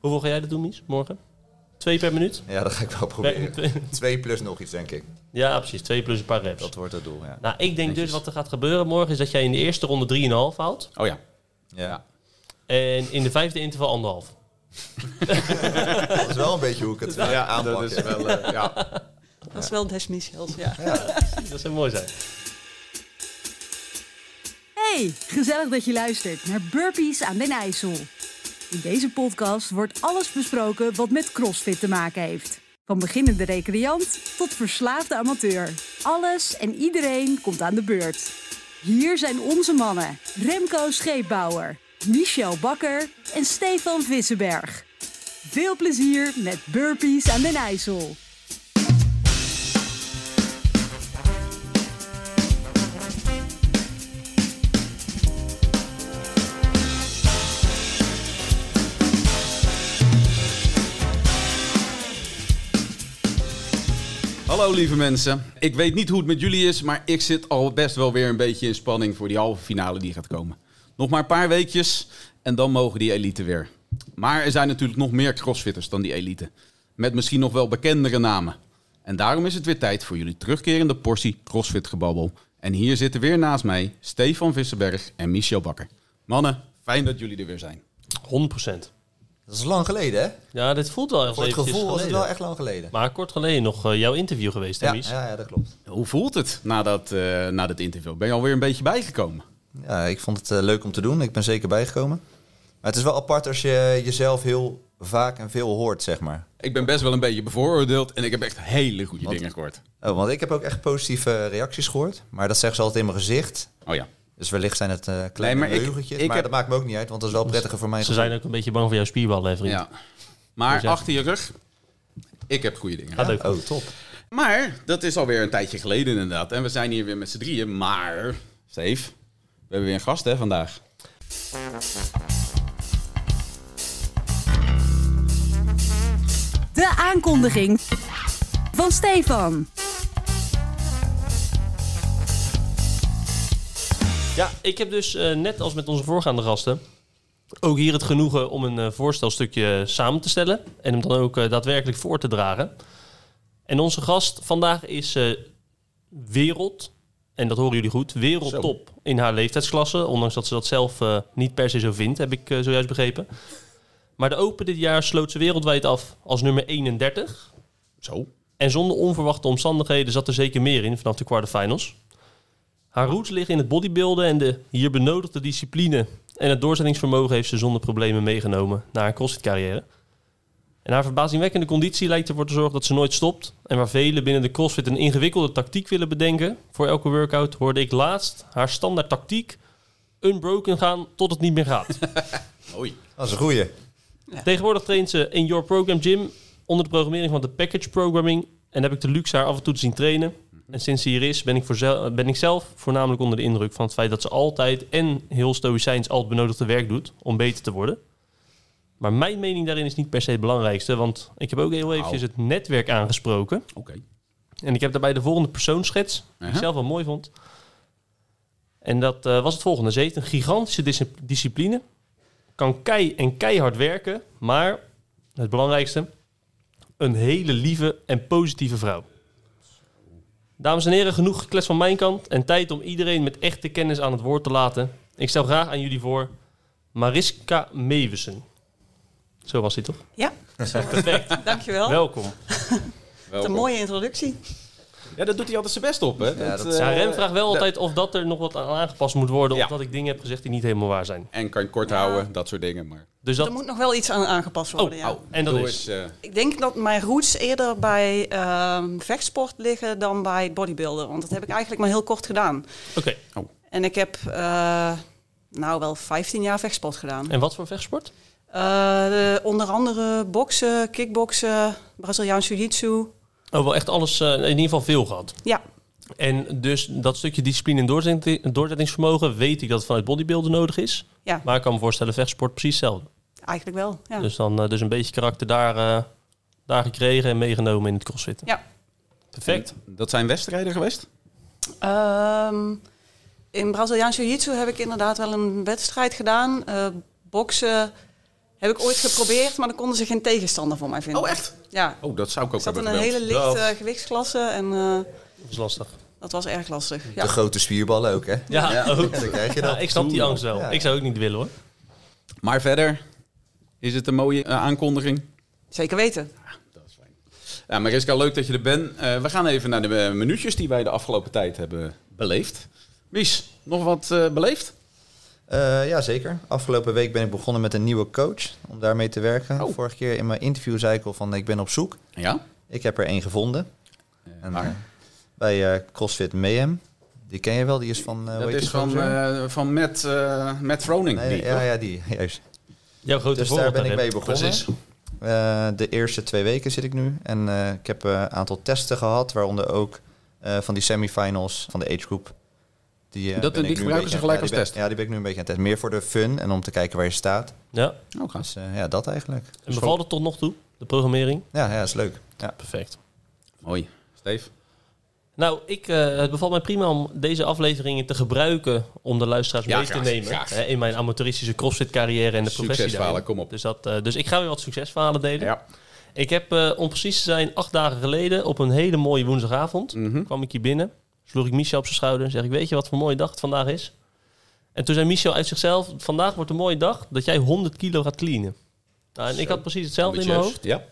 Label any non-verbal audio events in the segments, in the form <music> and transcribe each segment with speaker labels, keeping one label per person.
Speaker 1: Hoeveel ga jij dat doen, Mies, morgen? Twee per minuut?
Speaker 2: Ja, dat ga ik wel proberen. <laughs> Twee plus nog iets, denk ik.
Speaker 1: Ja, precies. Twee plus een paar reps.
Speaker 2: Dat wordt het doel, ja.
Speaker 1: Nou, ik denk dus wat er gaat gebeuren morgen is dat jij in de eerste ronde 3,5 houdt.
Speaker 3: Oh ja.
Speaker 2: ja.
Speaker 1: En in de vijfde interval anderhalf.
Speaker 2: Dat is wel een beetje hoe ik het eh, aanpak.
Speaker 3: dat is
Speaker 2: ja.
Speaker 3: wel... eh, ja.
Speaker 4: Dat is wel een Des Michels, ja.
Speaker 1: <laughs> Dat zou mooi zijn.
Speaker 5: Hey, gezellig dat je luistert naar Burpees aan den IJssel. In deze podcast wordt alles besproken wat met CrossFit te maken heeft. Van beginnende recreant tot verslaafde amateur. Alles en iedereen komt aan de beurt. Hier zijn onze mannen Remco Scheepbouwer, Michel Bakker en Stefan Vissenberg. Veel plezier met Burpees aan den IJssel.
Speaker 3: <laughs> Hallo lieve mensen. Ik weet niet hoe het met jullie is, maar ik zit al best wel weer een beetje in spanning voor die halve finale die gaat komen. Nog maar een paar weekjes en dan mogen die elite weer. Maar er zijn natuurlijk nog meer crossfitters dan die elite. Met misschien nog wel bekendere namen. En daarom is het weer tijd voor jullie terugkerende portie crossfit gebabbel. En hier zitten weer naast mij Stefan Vissenberg en Michel Bakker. Mannen, fijn dat jullie er weer
Speaker 1: 100%.
Speaker 3: zijn.
Speaker 2: Dat is lang geleden, hè?
Speaker 1: Ja, dit voelt wel echt
Speaker 2: Voor het
Speaker 1: eventjes
Speaker 2: gevoel was het
Speaker 1: geleden.
Speaker 2: wel echt lang geleden.
Speaker 1: Maar kort geleden nog eh, jouw interview geweest, hè,
Speaker 2: Ja,
Speaker 1: Mies?
Speaker 2: ja, ja, dat klopt.
Speaker 3: Hoe voelt het na dat, eh, na dat interview? Ben je alweer een beetje bijgekomen?
Speaker 2: Ja, ik vond het eh, leuk om te doen. Ik ben zeker bijgekomen. Maar het is wel apart als je jezelf heel vaak en veel hoort, zeg maar.
Speaker 3: Ik ben best wel een beetje bevooroordeeld en ik heb echt hele goede
Speaker 2: Wat?
Speaker 3: dingen gehoord.
Speaker 2: Oh, want ik heb ook echt positieve eh, reacties gehoord. Maar dat zeggen ze altijd in mijn gezicht.
Speaker 3: Oh ja.
Speaker 2: Dus wellicht zijn het eh kleine
Speaker 3: maar ik-
Speaker 2: leugentjes.
Speaker 3: ik
Speaker 2: maar
Speaker 3: heb-
Speaker 2: dat maakt me ook niet uit, want dat is wel prettiger voor mij.
Speaker 1: Ze zijn ook een beetje bang voor jouw spierballen, hè, vriend?
Speaker 3: Ja. Maar
Speaker 1: Dus ja.
Speaker 3: achter je rug, ik heb goede dingen.
Speaker 1: Gaat ook
Speaker 2: Oh,
Speaker 1: goed.
Speaker 2: top.
Speaker 3: Maar dat is alweer een tijdje geleden inderdaad. En we zijn hier weer met z'n drieën. Maar, Steve, we hebben weer een gast hè vandaag.
Speaker 5: De aankondiging van Stefan.
Speaker 1: Ja, ik heb dus eh, net als met onze voorgaande gasten ook hier het genoegen om een eh, voorstelstukje samen te stellen en hem dan ook eh, daadwerkelijk voor te dragen. En onze gast vandaag is eh, wereld, en dat horen jullie goed, wereldtop in haar leeftijdsklasse. Ondanks dat ze dat zelf eh, niet per se zo vindt, heb ik eh, zojuist begrepen. Maar de Open dit jaar sloot ze wereldwijd af als nummer 31.
Speaker 3: Zo.
Speaker 1: En zonder onverwachte omstandigheden zat er zeker meer in vanaf de quarterfinals. Haar roots liggen in het bodybuilden en de hier benodigde discipline. En het doorzettingsvermogen heeft ze zonder problemen meegenomen naar haar crossfit-carrière. En haar verbazingwekkende conditie lijkt ervoor te zorgen dat ze nooit stopt. En waar velen binnen de crossfit een ingewikkelde tactiek willen bedenken voor elke workout, hoorde ik laatst haar standaard tactiek unbroken gaan tot het niet meer gaat.
Speaker 3: Mooi.
Speaker 2: Dat is een goeie.
Speaker 1: Tegenwoordig traint ze in Your Program Gym onder de programmering van de Package Programming. En heb ik de luxe haar af en toe te zien trainen. En sinds ze hier is, ben ik, voor zel- ben ik zelf voornamelijk onder de indruk van het feit dat ze altijd en heel stoïcijns al het benodigde werk doet om beter te worden. Maar mijn mening daarin is niet per se het belangrijkste, want ik heb ook heel eventjes het netwerk aangesproken.
Speaker 3: Oké.
Speaker 1: En ik heb daarbij de volgende persoonsschets, die ik
Speaker 3: Aha.
Speaker 1: zelf wel mooi vond. En dat eh, was het volgende. Ze heeft een gigantische dis- discipline. Kan kei en keihard werken. Maar, het belangrijkste, een hele lieve en positieve vrouw. Dames en heren, genoeg geklets van mijn kant. En tijd om iedereen met echte kennis aan het woord te laten. Ik stel graag aan jullie voor Mariska Mewissen. Zo was dit toch?
Speaker 4: Ja,
Speaker 1: Perfect.
Speaker 4: dankjewel.
Speaker 1: Welkom.
Speaker 4: Wat een mooie introductie.
Speaker 3: Ja, dat doet hij altijd zijn best op hè.
Speaker 2: dat
Speaker 3: eh,
Speaker 1: Ja, Rem vraagt wel altijd of dat er nog wat aan aangepast moet worden.
Speaker 3: Ja.
Speaker 1: Of dat ik dingen heb gezegd die niet helemaal waar zijn.
Speaker 3: En kan je kort houden, dat soort dingen. Maar...
Speaker 1: Dus
Speaker 4: Er
Speaker 1: dat. Oh,
Speaker 4: moet nog wel iets aan aangepast worden, ja.
Speaker 1: au. En dat
Speaker 3: Nou, doe
Speaker 1: is?
Speaker 3: eens, eh,
Speaker 4: Ik denk dat mijn roots eerder bij ehm, vechtsport liggen dan bij het bodybuilden. Want dat heb ik eigenlijk maar heel kort gedaan.
Speaker 1: Oké.
Speaker 4: En ik heb eh, nou wel 15 jaar vechtsport gedaan.
Speaker 1: En wat voor vechtsport?
Speaker 4: Eh, de- onder andere boksen, kickboksen, Braziliaans jiu-jitsu.
Speaker 1: Oh, wel echt alles, eh, in ieder geval veel gehad.
Speaker 4: Ja,
Speaker 1: En dus dat stukje discipline en doorzetting- doorzettingsvermogen weet ik dat het vanuit bodybuilden nodig is.
Speaker 4: ja
Speaker 1: Maar ik kan me voorstellen, vechtsport precies hetzelfde.
Speaker 4: eigenlijk wel. Ja.
Speaker 1: Dus dan eh, dus een beetje karakter daar, eh, daar gekregen en meegenomen in het crossfit.
Speaker 4: Ja.
Speaker 1: Perfect.
Speaker 3: dat zijn wedstrijden geweest?
Speaker 4: Ehm, in Braziliaans jiu-jitsu heb ik inderdaad wel een wedstrijd gedaan. Eh, boksen Heb ik ooit geprobeerd, maar dan konden ze geen tegenstander voor mij vinden.
Speaker 3: Oh, echt?
Speaker 4: Ja.
Speaker 3: Oh, dat zou ik ook
Speaker 4: Ik zat in
Speaker 3: hebben
Speaker 4: een
Speaker 3: gebeld.
Speaker 4: hele lichte
Speaker 2: Dat-
Speaker 4: eh, gewichtsklasse en eh,
Speaker 1: Dat is lastig.
Speaker 4: dat was erg lastig.
Speaker 2: De
Speaker 4: Ja.
Speaker 2: grote spierballen ook, hè?
Speaker 1: Ja, <laughs>
Speaker 2: <laughs>
Speaker 1: ook.
Speaker 2: Dan krijg je dat.
Speaker 1: Ja, ik snap die angst wel.
Speaker 2: Ja.
Speaker 1: Ik zou ook niet willen hoor.
Speaker 3: Maar verder, is het een mooie eh, aankondiging?
Speaker 4: Zeker weten.
Speaker 3: Dat is fijn. Ja, Mariska, leuk dat je er bent. Eh, we gaan even naar de eh, minuutjes die wij de afgelopen tijd hebben beleefd. Mies, nog wat eh, beleefd?
Speaker 2: Eh, ja, zeker. Afgelopen week ben ik begonnen met een nieuwe coach om daarmee te werken.
Speaker 3: Oh.
Speaker 2: Vorige keer in mijn interview zei ik al van ik ben op zoek.
Speaker 3: Ja.
Speaker 2: Ik heb er één gevonden. En,
Speaker 3: waar?
Speaker 2: eh, bij eh, CrossFit Mayhem. Die ken je wel, die is van... eh, hoe
Speaker 3: dat
Speaker 2: heet die
Speaker 3: is van,
Speaker 2: gozer?
Speaker 3: eh, van Matt, eh Matt Froning.
Speaker 2: Nee,
Speaker 3: die,
Speaker 2: ja, ja, die. Juist.
Speaker 1: Jouw grote
Speaker 2: Dus daar
Speaker 1: voorbeeld
Speaker 2: ben ik mee
Speaker 1: daarin.
Speaker 2: begonnen.
Speaker 3: Precies.
Speaker 2: Eh, de eerste twee weken zit ik nu. En eh, ik heb eh, een aantal testen gehad, waaronder ook eh, van die semifinals van de age group. Die, eh,
Speaker 3: Dat-
Speaker 2: ben ik nu
Speaker 3: die
Speaker 2: een
Speaker 3: gebruiken ze
Speaker 2: beetje-
Speaker 3: gelijk
Speaker 2: ja,
Speaker 3: als
Speaker 2: die ben-
Speaker 3: test?
Speaker 2: Ja, die ben ik nu een beetje aan het testen. Meer voor de fun en om te kijken waar je staat.
Speaker 1: Ja.
Speaker 3: Oh, gaaf.
Speaker 2: Dus eh, ja, dat eigenlijk.
Speaker 1: En bevalt het tot nog toe? De programmering?
Speaker 2: Ja, ja, is leuk. Ja.
Speaker 1: Perfect.
Speaker 3: Mooi. Steef?
Speaker 1: Nou, ik, eh, het bevalt mij prima om deze afleveringen te gebruiken om de luisteraars
Speaker 3: Ja,
Speaker 1: mee
Speaker 3: graag,
Speaker 1: te nemen.
Speaker 3: graag.
Speaker 1: Hè, in mijn amateuristische crossfit carrière en de professie
Speaker 3: Succesverhalen,
Speaker 1: daarin.
Speaker 3: kom op.
Speaker 1: Dus, dat, eh, dus ik ga weer wat succesverhalen delen.
Speaker 3: Ja.
Speaker 1: Ik heb, eh, om precies te zijn, acht dagen geleden op een hele mooie woensdagavond
Speaker 3: Mhm.
Speaker 1: kwam ik hier binnen. Sloeg ik Michel op zijn schouder en zeg ik, weet je wat voor mooie dag het vandaag is? En toen zei Michel uit zichzelf, vandaag wordt een mooie dag dat jij 100 kilo gaat cleanen. Nou, en ik
Speaker 3: Zo.
Speaker 1: had precies hetzelfde in mijn hoofd.
Speaker 3: Ja.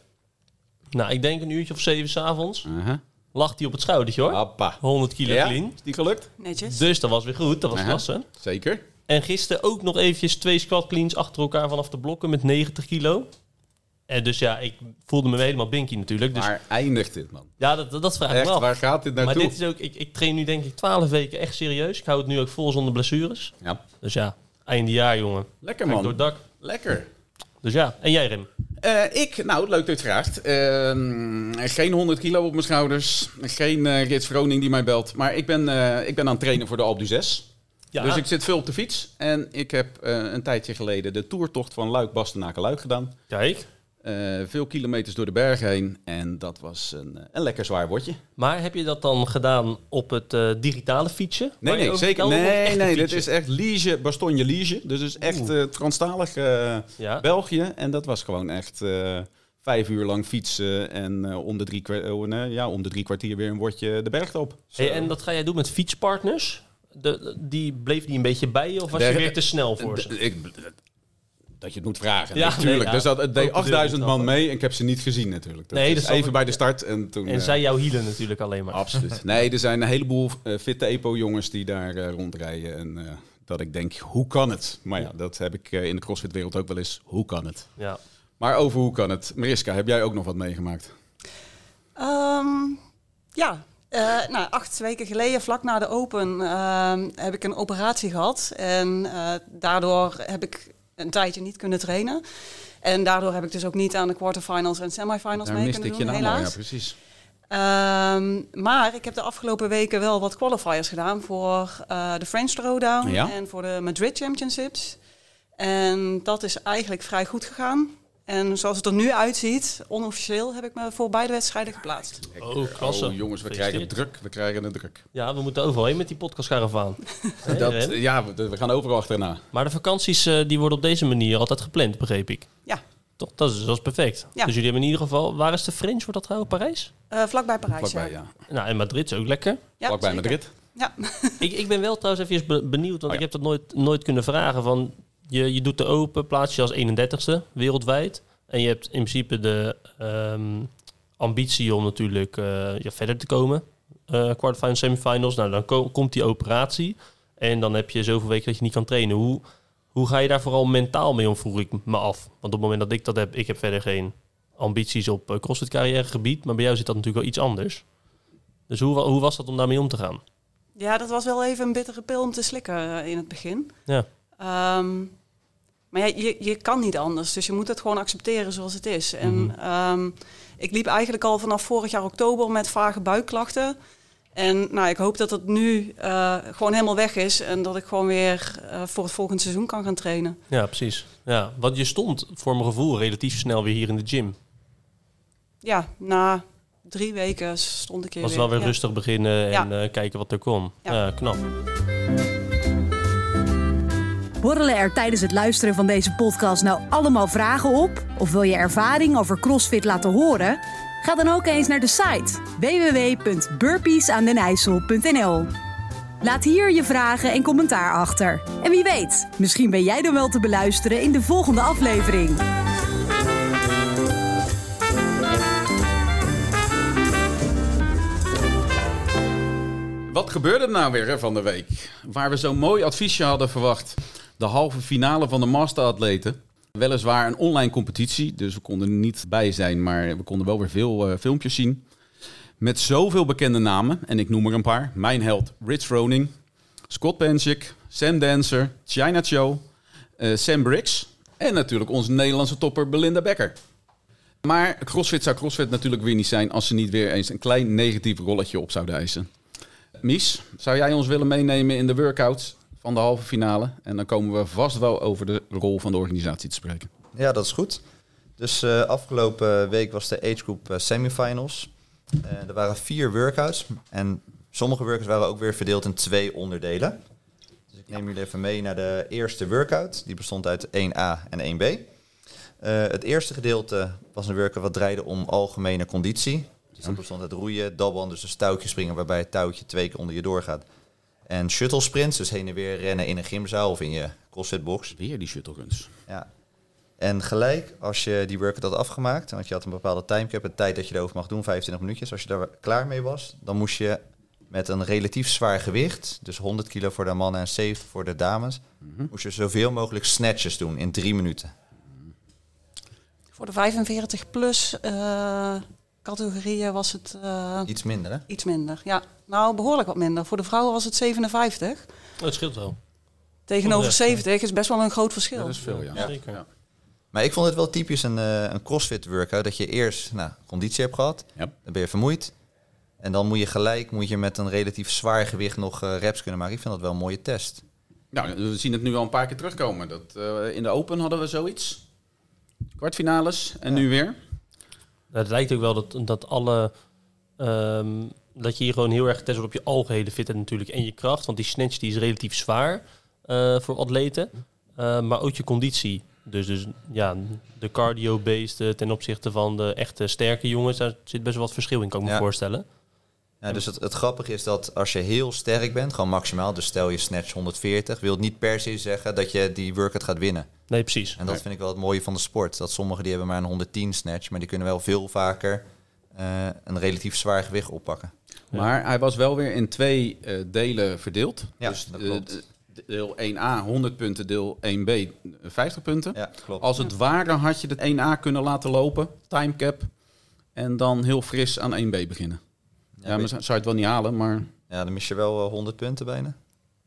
Speaker 1: Nou, ik denk een uurtje of zeven s'avonds
Speaker 3: Uh-huh.
Speaker 1: lag hij op het schoudertje hoor.
Speaker 3: Hoppa.
Speaker 1: 100 kilo
Speaker 3: Ja?
Speaker 1: clean.
Speaker 3: Is die gelukt?
Speaker 4: Netjes.
Speaker 1: Dus dat was weer goed, dat was
Speaker 3: Ja.
Speaker 1: klasse.
Speaker 3: Zeker.
Speaker 1: En gisteren ook nog eventjes twee squat cleans achter elkaar vanaf de blokken met 90 kilo. En dus ja, ik voelde me helemaal binky natuurlijk. Dus
Speaker 3: Waar eindigt dit, man?
Speaker 1: ja, dat, dat- dat vraag ik
Speaker 3: Echt,
Speaker 1: me af.
Speaker 3: waar gaat dit
Speaker 1: Maar
Speaker 3: naartoe?
Speaker 1: dit is ook, ik, ik train nu denk ik 12 weken echt serieus. Ik hou het nu ook vol zonder blessures.
Speaker 3: Ja.
Speaker 1: Dus ja, einde jaar jongen.
Speaker 3: Lekker,
Speaker 1: Ga ik door het
Speaker 3: man.
Speaker 1: dak.
Speaker 3: Lekker.
Speaker 1: Dus ja, en jij Rem?
Speaker 3: Eh, ik, nou, leuk dat je het vraagt. Ehm, geen 100 kilo op mijn schouders. Geen eh Rits Vroning die mij belt. Maar ik ben, eh, ik ben aan het trainen voor de Alpe d'Huez.
Speaker 1: Ja,
Speaker 3: Dus ik zit veel op de fiets. En ik heb eh, een tijdje geleden de toertocht van Luik, Bastenaken, Luik gedaan.
Speaker 1: kijk.
Speaker 3: Eh, veel kilometers door de berg heen. En dat was een, eh, een lekker zwaar bordje.
Speaker 1: Maar heb je dat dan gedaan op het eh, digitale fietsen?
Speaker 3: Nee, nee, zeker. Nee, nee, dit is echt Liege, Bastogne Liege. Dus het is echt eh Franstalig eh,
Speaker 1: Ja.
Speaker 3: België. En dat was gewoon echt eh, vijf uur lang fietsen. En eh, om, de drie kwa- eh, nee, ja, om de drie kwartier weer een wordje de berg op.
Speaker 1: Hey, en dat ga jij doen met fietspartners? De, de- die bleef die een beetje bij je of was
Speaker 3: De-
Speaker 1: je weer te snel voor
Speaker 3: Eh, D-
Speaker 1: ze?
Speaker 3: ik, dat je het moet vragen.
Speaker 1: Ja,
Speaker 3: natuurlijk.
Speaker 1: nee, ja.
Speaker 3: Dus dat, het deed
Speaker 1: Ook natuurlijk
Speaker 3: 8000 man
Speaker 1: dat.
Speaker 3: mee. En ik heb ze niet gezien natuurlijk. Dat
Speaker 1: Nee, dus
Speaker 3: is
Speaker 1: dat snap
Speaker 3: even
Speaker 1: ik.
Speaker 3: bij de start. En toen.
Speaker 1: En
Speaker 3: eh,
Speaker 1: zij jouw hielen natuurlijk alleen maar. <laughs>
Speaker 3: Absoluut. Nee, er zijn een heleboel eh, fitte EPO-jongens die daar eh, rondrijden. En eh, dat ik denk, hoe kan het? Maar ja, dat heb ik eh, in de CrossFit-wereld ook wel eens. Hoe kan het?
Speaker 1: Ja.
Speaker 3: Maar over hoe kan het? Mariska, heb jij ook nog wat meegemaakt?
Speaker 4: Ehm, ja, Eh, nou, acht weken geleden, vlak na de Open, ehm, heb ik een operatie gehad. En eh, daardoor heb ik een tijdje niet kunnen trainen. En daardoor heb ik dus ook niet aan de quarterfinals en semifinals
Speaker 3: daar
Speaker 4: mee
Speaker 3: miste
Speaker 4: kunnen
Speaker 3: ik
Speaker 4: doen,
Speaker 3: je naam al. Ja,
Speaker 4: helaas.
Speaker 3: precies.
Speaker 4: Ehm, maar ik heb de afgelopen weken wel wat qualifiers gedaan voor eh, de French Throwdown
Speaker 3: Ja.
Speaker 4: en voor de Madrid Championships. En dat is eigenlijk vrij goed gegaan. En zoals het er nu uitziet, onofficieel heb ik me voor beide wedstrijden geplaatst.
Speaker 1: Oh, klasse.
Speaker 3: Oh, jongens, we krijgen
Speaker 1: Gefeliciteerd.
Speaker 3: het druk. We krijgen het druk.
Speaker 1: Ja, we moeten overal heen met die
Speaker 3: <laughs>
Speaker 1: podcastcaravaan. Hè,
Speaker 3: Dat,
Speaker 1: Rem?
Speaker 3: ja, we, we gaan overal achterna.
Speaker 1: Maar de vakanties eh, die worden op deze manier altijd gepland, begreep ik.
Speaker 4: Ja,
Speaker 1: Toch, dat is, dat is perfect.
Speaker 4: Ja.
Speaker 1: Dus jullie hebben in ieder geval... Waar is de French? Wordt dat trouwens Parijs?
Speaker 4: eh, vlakbij Parijs.
Speaker 3: Vlakbij, ja.
Speaker 1: Nou, en Madrid is ook lekker.
Speaker 4: Ja,
Speaker 3: Vlakbij
Speaker 4: zeker.
Speaker 3: Madrid.
Speaker 4: Ja.
Speaker 1: ik, ik ben wel trouwens even be- benieuwd, want
Speaker 3: Oh ja.
Speaker 1: ik heb dat nooit, nooit kunnen vragen. Van, je, je doet de open, plaats je als 31ste wereldwijd. En je hebt in principe de ehm, ambitie om natuurlijk eh, ja, verder te komen. Eh quarterfinals, semifinals. Nou, dan ko- komt die operatie. En dan heb je zoveel weken dat je niet kan trainen. Hoe, hoe ga je daar vooral mentaal mee om, vroeg ik me af. Want op het moment dat ik dat heb, ik heb verder geen ambities op eh, crossfit carrière gebied. Maar bij jou zit dat natuurlijk wel iets anders. Dus hoe, wa- hoe was dat om daarmee om te gaan?
Speaker 4: ja, dat was wel even een bittere pil om te slikken eh, in het begin.
Speaker 1: Ja.
Speaker 4: Ehm, maar ja, je, je kan niet anders, dus je moet het gewoon accepteren zoals het is. En
Speaker 1: Mhm.
Speaker 4: ehm, ik liep eigenlijk al vanaf vorig jaar oktober met vage buikklachten. En nou, ik hoop dat dat nu eh, gewoon helemaal weg is en dat ik gewoon weer eh, voor het volgende seizoen kan gaan trainen.
Speaker 1: Ja, precies. Ja, want je stond voor mijn gevoel relatief snel weer hier in de gym.
Speaker 4: Ja, na drie weken stond ik hier
Speaker 1: Was wel weer
Speaker 4: Ja.
Speaker 1: rustig beginnen en
Speaker 4: Ja.
Speaker 1: eh, kijken wat er kon. Ja,
Speaker 4: Ja.
Speaker 1: knap.
Speaker 5: Borrelen er tijdens het luisteren van deze podcast nou allemaal vragen op? Of wil je ervaring over CrossFit laten horen? Ga dan ook eens naar de site www.burpeesaandenijssel.nl Laat hier je vragen en commentaar achter. En wie weet, misschien ben jij dan wel te beluisteren in de volgende aflevering.
Speaker 3: Wat gebeurde er nou weer hè, van de week? Waar we zo'n mooi adviesje hadden verwacht. De halve finale van de masteratleten. Weliswaar een online competitie, dus we konden er niet bij zijn. Maar we konden wel weer veel eh, filmpjes zien. Met zoveel bekende namen. En ik noem er een paar. Mijn held Rich Froning. Scott Penchik. Sam Dancer. China Cho. eh, Sam Briggs. En natuurlijk onze Nederlandse topper Belinda Becker. Maar CrossFit zou CrossFit natuurlijk weer niet zijn als ze niet weer eens een klein negatief rolletje op zouden eisen. Mies, zou jij ons willen meenemen in de workouts van de halve finale? En dan komen we vast wel over de rol van de organisatie te spreken.
Speaker 2: Ja, dat is goed. Dus eh, afgelopen week was de age group eh, semifinals. Eh, er waren vier workouts. En sommige workouts waren ook weer verdeeld in twee onderdelen. Dus ik neem jullie even mee naar de eerste workout. Die bestond uit 1A en 1B. Eh, het eerste gedeelte was een workout wat draaide om algemene conditie. Dus dat bestond uit roeien, dabbelen, dus een touwtje springen waarbij het touwtje twee keer onder je doorgaat. En shuttle sprints, dus heen en weer rennen in een gymzaal of in je crossfitbox.
Speaker 3: Weer die shuttleguns.
Speaker 2: Ja. En gelijk, als je die workout had afgemaakt, want je had een bepaalde timecap, een tijd dat je erover mag doen, 25 minuutjes, als je daar klaar mee was, dan moest je met een relatief zwaar gewicht, dus 100 kilo voor de mannen en 70 voor de dames, moest je zoveel mogelijk snatches doen in drie minuten.
Speaker 4: Voor de 45-plus categorieën was het eh,
Speaker 2: Iets minder, hè?
Speaker 4: iets minder. Ja, nou behoorlijk wat minder. Voor de vrouwen was het 57.
Speaker 1: Dat scheelt wel.
Speaker 4: Tegenover
Speaker 1: Oprecht,
Speaker 4: 70 is best wel een groot verschil.
Speaker 3: Dat is veel, ja.
Speaker 1: Ja, zeker.
Speaker 3: Ja.
Speaker 2: Maar ik vond het wel typisch een, eh, een crossfit workout, dat je eerst nou, conditie hebt gehad,
Speaker 3: Ja.
Speaker 2: dan ben je vermoeid, en dan moet je gelijk moet je met een relatief zwaar gewicht nog eh, reps kunnen maken. Ik vind dat wel een mooie test.
Speaker 3: Nou, we zien het nu al een paar keer terugkomen. Dat, eh, in de Open hadden we zoiets. Kwartfinales en nu weer.
Speaker 1: Nou, het lijkt ook wel dat, dat alle. ehm, dat je hier gewoon heel erg getest wordt op je algehele fitheid natuurlijk en je kracht. Want die snatch die is relatief zwaar eh, voor atleten. Eh, maar ook je conditie. Dus, dus ja, de cardio-based eh, ten opzichte van de echte sterke jongens, daar zit best wel wat verschil in, kan ik me
Speaker 2: Ja.
Speaker 1: voorstellen.
Speaker 2: Ja, dus het, het grappige is dat als je heel sterk bent, gewoon maximaal, dus stel je snatch 140, wil het niet per se zeggen dat je die workout gaat winnen.
Speaker 1: Nee, precies.
Speaker 2: En dat vind ik wel het mooie van de sport. Dat sommigen die hebben maar een 110 snatch, maar die kunnen wel veel vaker eh, een relatief zwaar gewicht oppakken.
Speaker 3: Maar hij was wel weer in twee eh, delen verdeeld.
Speaker 2: Ja,
Speaker 3: dus
Speaker 2: dat
Speaker 3: eh,
Speaker 2: klopt.
Speaker 3: de- deel 1A 100 punten, deel 1B 50 punten.
Speaker 2: Ja, klopt.
Speaker 3: Als het ware had je de 1A kunnen laten lopen, timecap. En dan heel fris aan 1B beginnen. Ja, maar zou je het wel niet halen, maar...
Speaker 2: Ja, dan mis je wel eh, 100 punten bijna.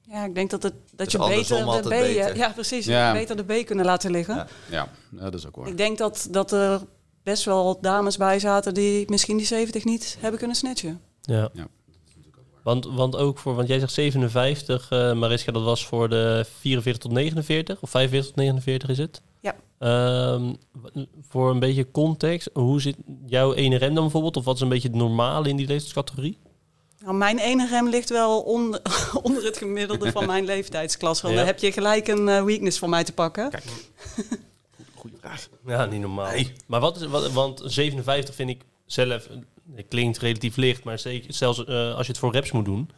Speaker 4: Ja, ik denk dat, het, dat
Speaker 2: Dus
Speaker 4: je
Speaker 2: andersom
Speaker 4: beter de B... eh,
Speaker 2: altijd beter.
Speaker 4: Ja, precies.
Speaker 3: Ja.
Speaker 4: dat je Beter de B kunnen laten liggen.
Speaker 2: Ja.
Speaker 3: Ja, dat is ook waar.
Speaker 4: Ik denk dat, dat er best wel dames bij zaten die misschien die 70 niet hebben kunnen snatchen.
Speaker 1: Ja.
Speaker 3: Ja.
Speaker 1: Want, want ook voor, want jij zegt 57, eh, Mariska, dat was voor de 44 tot 49, of 45 tot 49 is het?
Speaker 4: Ja.
Speaker 1: Ehm, w- voor een beetje context, hoe zit jouw ene rem dan bijvoorbeeld? Of wat is een beetje het normale in die leeftijdscategorie?
Speaker 4: Nou, mijn ene rem ligt wel onder, <laughs> onder het gemiddelde van mijn leeftijdsklasse. Want
Speaker 1: Ja.
Speaker 4: Dan heb je gelijk een eh, weakness van mij te pakken.
Speaker 3: Goeie vraag.
Speaker 1: Ja, niet normaal. Maar wat is, wat, want 57 vind ik zelf, eh, het klinkt relatief licht, maar zeker, zelfs eh, als je het voor reps moet doen,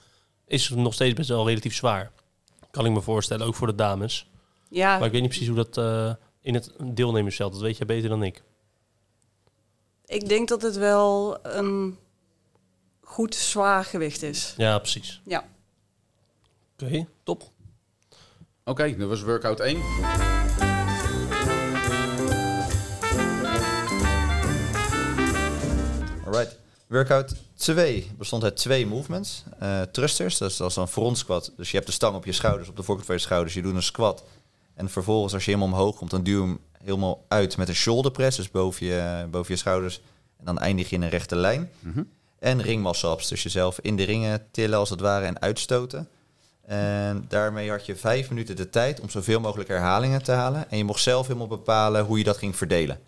Speaker 1: is het nog steeds best wel relatief zwaar. Kan ik me voorstellen, ook voor de dames.
Speaker 4: Ja,
Speaker 1: Maar ik weet niet precies hoe dat eh, in het deelnemersveld, dat weet jij beter dan ik.
Speaker 4: ik denk dat het wel een goed zwaar gewicht is.
Speaker 1: Ja, precies.
Speaker 4: Ja.
Speaker 1: Oké, top.
Speaker 3: Oké, dat was workout 1.
Speaker 2: Alright. Workout 2 bestond uit twee movements. Eh, thrusters, dat is, dat is dan front squat. Dus je hebt de stang op je schouders, op de voorkant van je schouders. Je doet een squat. En vervolgens als je helemaal omhoog komt, dan duw je hem helemaal uit met een shoulder press. Dus boven je, boven je schouders. En dan eindig je in een rechte lijn.
Speaker 3: Mhm.
Speaker 2: En ringmassa-ups. Dus jezelf in de ringen tillen als het ware en uitstoten. En daarmee had je vijf minuten de tijd om zoveel mogelijk herhalingen te halen. En je mocht zelf helemaal bepalen hoe je dat ging verdelen.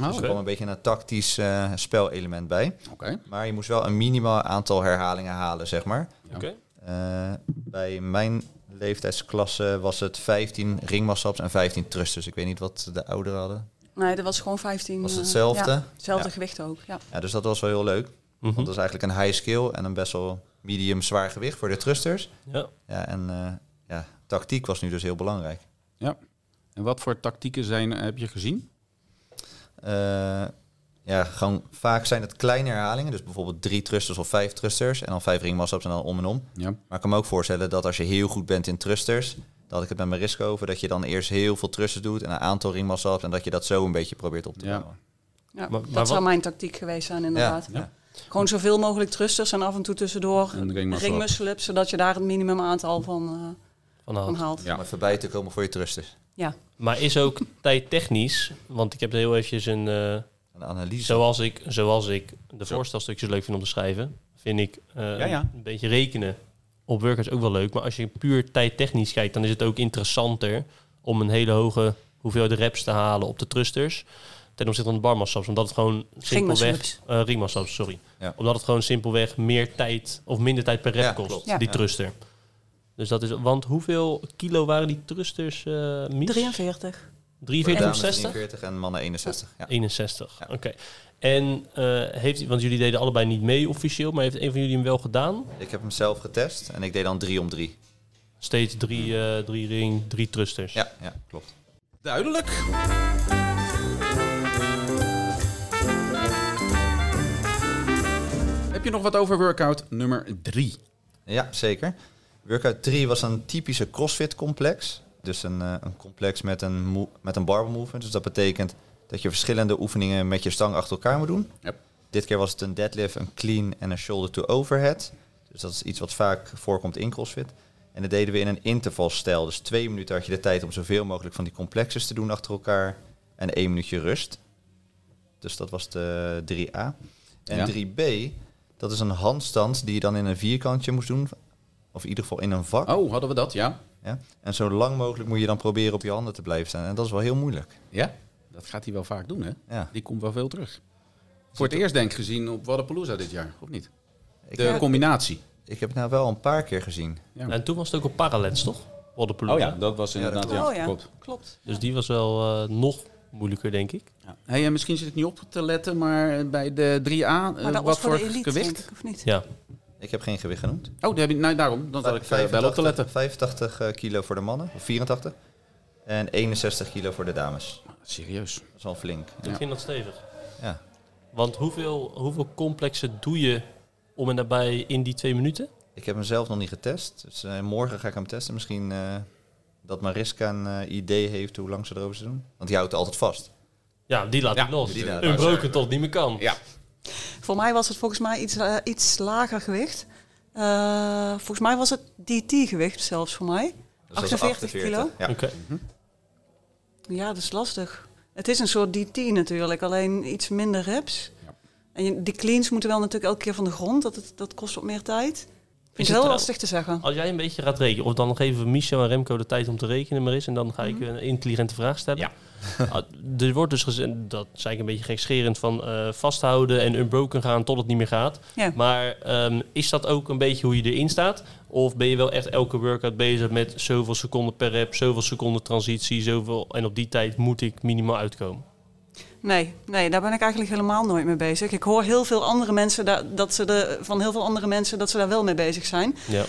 Speaker 3: Oh,
Speaker 2: Dus er
Speaker 3: Oké.
Speaker 2: kwam een beetje een tactisch eh, spelelement bij.
Speaker 3: Oké.
Speaker 2: Maar je moest wel een minimaal aantal herhalingen halen, zeg maar.
Speaker 1: Oké.
Speaker 2: Eh, bij mijn leeftijdsklasse was het 15 ringmassaps en 15 thrusters. Ik weet niet wat de ouderen hadden.
Speaker 4: Nee, dat was gewoon 15.
Speaker 2: Was
Speaker 4: eh,
Speaker 2: hetzelfde?
Speaker 4: ja, hetzelfde
Speaker 2: Ja.
Speaker 4: gewicht ook, ja.
Speaker 2: Ja, dus dat was wel heel leuk.
Speaker 1: Mhm.
Speaker 2: Want dat is eigenlijk een high skill en een best wel medium zwaar gewicht voor de thrusters.
Speaker 1: Ja.
Speaker 2: Ja, en eh, ja, tactiek was nu dus heel belangrijk.
Speaker 3: En wat voor tactieken zijn, heb je gezien?
Speaker 2: Eh, ja, gewoon vaak zijn het kleine herhalingen. Dus bijvoorbeeld drie thrusters of vijf thrusters. En dan vijf ringmassaps en dan om en om.
Speaker 3: Ja.
Speaker 2: Maar ik kan me ook voorstellen dat als je heel goed bent in thrusters... dat ik het met mijn risk over, dat je dan eerst heel veel thrusters doet... en een aantal ringmassaps en dat je dat zo een beetje probeert op te
Speaker 3: Ja.
Speaker 2: bouwen.
Speaker 4: ja.
Speaker 1: maar
Speaker 4: dat
Speaker 1: wat-
Speaker 4: zou mijn tactiek geweest zijn, inderdaad.
Speaker 2: Ja, ja.
Speaker 4: Gewoon zoveel mogelijk thrusters en af en toe tussendoor
Speaker 3: Een ringmuscle-up.
Speaker 4: ringmuscle-ups, zodat je daar het minimum aantal van, eh,
Speaker 1: Van Hout.
Speaker 4: van haalt.
Speaker 3: Ja.
Speaker 2: Maar voorbij te komen voor je thrusters.
Speaker 4: Ja.
Speaker 1: Maar is ook <laughs> tijdtechnisch, want ik heb heel eventjes een... eh,
Speaker 2: Een analyse.
Speaker 1: Zoals ik, zoals ik de
Speaker 3: Zo.
Speaker 1: voorstelstukjes leuk vind om te schrijven, vind ik eh,
Speaker 3: Ja, ja.
Speaker 1: een beetje rekenen op workers ook wel leuk. Maar als je puur tijdtechnisch kijkt, dan is het ook interessanter om een hele hoge hoeveelheid reps te halen op de thrusters ten opzichte van de barmassaps. Omdat het gewoon simpelweg...
Speaker 4: Ringmassaps.
Speaker 1: eh ringmassaps, sorry.
Speaker 2: Ja.
Speaker 1: Omdat het gewoon simpelweg meer tijd of minder tijd per rep
Speaker 2: Ja,
Speaker 1: kost,
Speaker 2: klopt.
Speaker 4: Ja.
Speaker 1: die
Speaker 2: Ja.
Speaker 1: thruster. Dus dat is... Want hoeveel kilo waren die thrusters, eh Mies?
Speaker 4: 43.
Speaker 1: 43 of
Speaker 2: Dames
Speaker 1: 60?
Speaker 2: 43 en mannen 61. Ja.
Speaker 1: 61,
Speaker 2: Ja.
Speaker 1: oké. En eh, heeft, want jullie deden allebei niet mee officieel, maar heeft een van jullie hem wel gedaan?
Speaker 2: Ik heb hem zelf getest en ik deed dan drie om drie.
Speaker 1: Steeds drie, eh, drie ring, drie trusters.
Speaker 2: Ja, ja klopt.
Speaker 3: Duidelijk. Heb je nog wat over workout nummer drie?
Speaker 2: Ja, zeker. Workout 3 was een typische CrossFit complex. Dus een, eh, een complex met een, moe- met een barbell movement. Dus dat betekent dat je verschillende oefeningen met je stang achter elkaar moet doen.
Speaker 3: Ja.
Speaker 2: Dit keer was het een deadlift, een clean en een shoulder to overhead. Dus dat is iets wat vaak voorkomt in CrossFit. En dat deden we in een intervalstijl. Dus twee minuten had je de tijd om zoveel mogelijk van die complexes te doen achter elkaar. En één minuutje rust. Dus dat was de 3A.
Speaker 3: Ja.
Speaker 2: En 3B, dat is een handstand die je dan in een vierkantje moest doen. Of in ieder geval in een vak.
Speaker 3: Oh, hadden we dat? Ja.
Speaker 2: Ja? En zo lang mogelijk moet je dan proberen op je handen te blijven staan. En dat is wel heel moeilijk.
Speaker 3: Ja. Dat gaat hij wel vaak doen, hè?
Speaker 2: Ja.
Speaker 3: Die komt wel veel terug. Voor het eerst denk ik gezien op Wadapalooza dit jaar, of niet?
Speaker 2: Ik,
Speaker 3: De combinatie.
Speaker 2: ik heb het nou wel een paar keer gezien.
Speaker 3: Ja.
Speaker 1: En toen was het ook op parallets, toch? Waddenploeg.
Speaker 3: Oh dat was
Speaker 2: Oh Ja, dat
Speaker 4: klopt. Oh ja. Klopt.
Speaker 1: Dus die was wel eh, nog moeilijker, denk ik.
Speaker 3: Ja. Hey, en misschien zit ik niet op te letten, maar bij de 3A, eh,
Speaker 4: Maar dat
Speaker 3: wat
Speaker 4: was voor de elite, denk
Speaker 3: gewicht?
Speaker 4: ik, of niet?
Speaker 1: Ja.
Speaker 2: Ik heb geen gewicht genoemd.
Speaker 3: Oh, daar heb je, nou, daarom. Dan zal ik eh, wel op te letten.
Speaker 2: 85 eh, kilo voor de mannen, of 84. En 61 kilo voor de dames.
Speaker 3: Serieus.
Speaker 2: Dat is al flink.
Speaker 1: Ik vind dat stevig.
Speaker 2: Ja.
Speaker 1: Want hoeveel, hoeveel complexen doe je om en nabij in die twee minuten?
Speaker 2: Ik heb hem zelf nog niet getest. Dus eh, morgen ga ik hem testen. Misschien eh, dat Mariska een eh, idee heeft hoe lang ze erover ze doen. Want die houdt het altijd vast. Dus
Speaker 1: Ja, die laat
Speaker 3: Ja,
Speaker 1: ik los.
Speaker 2: die laat
Speaker 1: Een
Speaker 2: ik
Speaker 1: broken tot het niet meer kan.
Speaker 3: Ja.
Speaker 4: Voor mij was het volgens mij iets, eh, iets lager gewicht. Eh, volgens mij was het DT-gewicht zelfs voor mij.
Speaker 2: Dus dat is
Speaker 4: 48 kilo?
Speaker 2: Ja.
Speaker 1: Oké.
Speaker 4: Ja, dat is lastig. Het is een soort DT natuurlijk, alleen iets minder reps.
Speaker 3: Ja.
Speaker 4: En je- die cleans moeten wel natuurlijk elke keer van de grond, dat, het, dat kost wat meer tijd. Ik
Speaker 1: het
Speaker 4: vind het heel
Speaker 1: er- Ah.
Speaker 4: lastig te zeggen.
Speaker 1: Als jij een beetje gaat rekenen, of dan geven we Michel en Remco de tijd om te rekenen, maar is en dan ga ik een intelligente vraag stellen.
Speaker 3: Ja.
Speaker 1: <laughs> Ah, er wordt dus gezegd, dat zei ik een beetje gekscherend, van eh, vasthouden en unbroken gaan tot het niet meer gaat.
Speaker 4: Ja.
Speaker 1: Maar ehm, is dat ook een beetje hoe je erin staat? Of ben je wel echt elke workout bezig met zoveel seconden per rep, zoveel seconden transitie, zoveel en op die tijd moet ik minimaal uitkomen?
Speaker 4: Nee, nee, daar ben ik eigenlijk helemaal nooit mee bezig. Ik hoor heel veel andere mensen da- dat ze er, van heel veel andere mensen dat ze daar wel mee bezig zijn.
Speaker 1: Ja.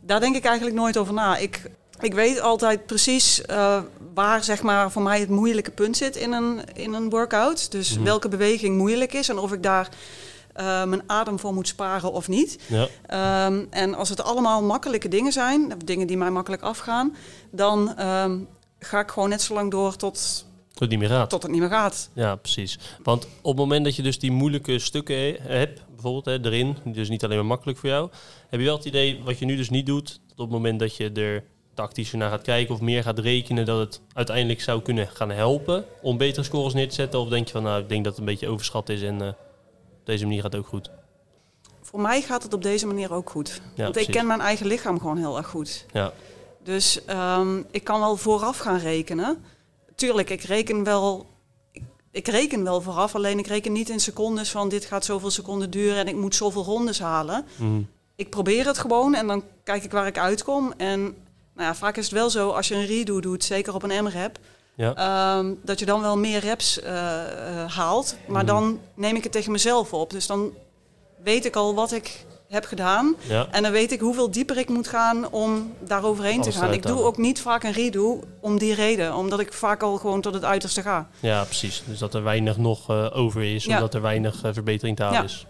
Speaker 4: Daar denk ik eigenlijk nooit over na. Ik, ik weet altijd precies eh, waar zeg maar, voor mij het moeilijke punt zit in een, in een workout. Dus
Speaker 1: Mhm.
Speaker 4: welke beweging moeilijk is en of ik daar eh, mijn adem voor moet sparen of niet.
Speaker 1: ja.
Speaker 4: Ehm, en als het allemaal makkelijke dingen zijn, dingen die mij makkelijk afgaan, dan ehm, ga ik gewoon net zo lang door tot,
Speaker 1: Tot het niet meer gaat.
Speaker 4: tot het niet meer gaat.
Speaker 1: Ja, precies. Want op het moment dat je dus die moeilijke stukken he- hebt, bijvoorbeeld hè, erin, dus niet alleen maar makkelijk voor jou, heb je wel het idee, wat je nu dus niet doet, dat op het moment dat je er tactischer naar gaat kijken of meer gaat rekenen, dat het uiteindelijk zou kunnen gaan helpen om betere scores neer te zetten? Of denk je van, nou, ik denk dat het een beetje overschat is en eh, op deze manier gaat het ook goed?
Speaker 4: Voor mij gaat het op deze manier ook goed.
Speaker 1: Ja,
Speaker 4: Want
Speaker 1: precies.
Speaker 4: ik ken mijn eigen lichaam gewoon heel erg goed.
Speaker 1: Ja,
Speaker 4: Dus ehm, ik kan wel vooraf gaan rekenen. Tuurlijk, ik reken wel. ik- Ik reken wel vooraf, alleen ik reken niet in secondes van dit gaat zoveel seconden duren en ik moet zoveel rondes halen.
Speaker 1: Mhm.
Speaker 4: Ik probeer het gewoon en dan kijk ik waar ik uitkom. En Nou ja, vaak is het wel zo, als je een redo doet, zeker op een M-rap,
Speaker 1: Ja.
Speaker 4: ehm, dat je dan wel meer reps eh, eh, haalt. Maar dan neem ik het tegen mezelf op. Dus dan weet ik al wat ik heb gedaan.
Speaker 1: ja.
Speaker 4: En dan weet ik hoeveel dieper ik moet gaan om daar overheen
Speaker 1: Alles
Speaker 4: te gaan.
Speaker 1: eruit
Speaker 4: Ik doe
Speaker 1: halen.
Speaker 4: ook niet vaak een redo om die reden. Omdat ik vaak al gewoon tot het uiterste ga.
Speaker 1: ja, precies. Dus dat er weinig nog eh, over is,
Speaker 4: Ja.
Speaker 1: omdat er weinig eh, verbetering te halen
Speaker 4: Ja.
Speaker 1: is.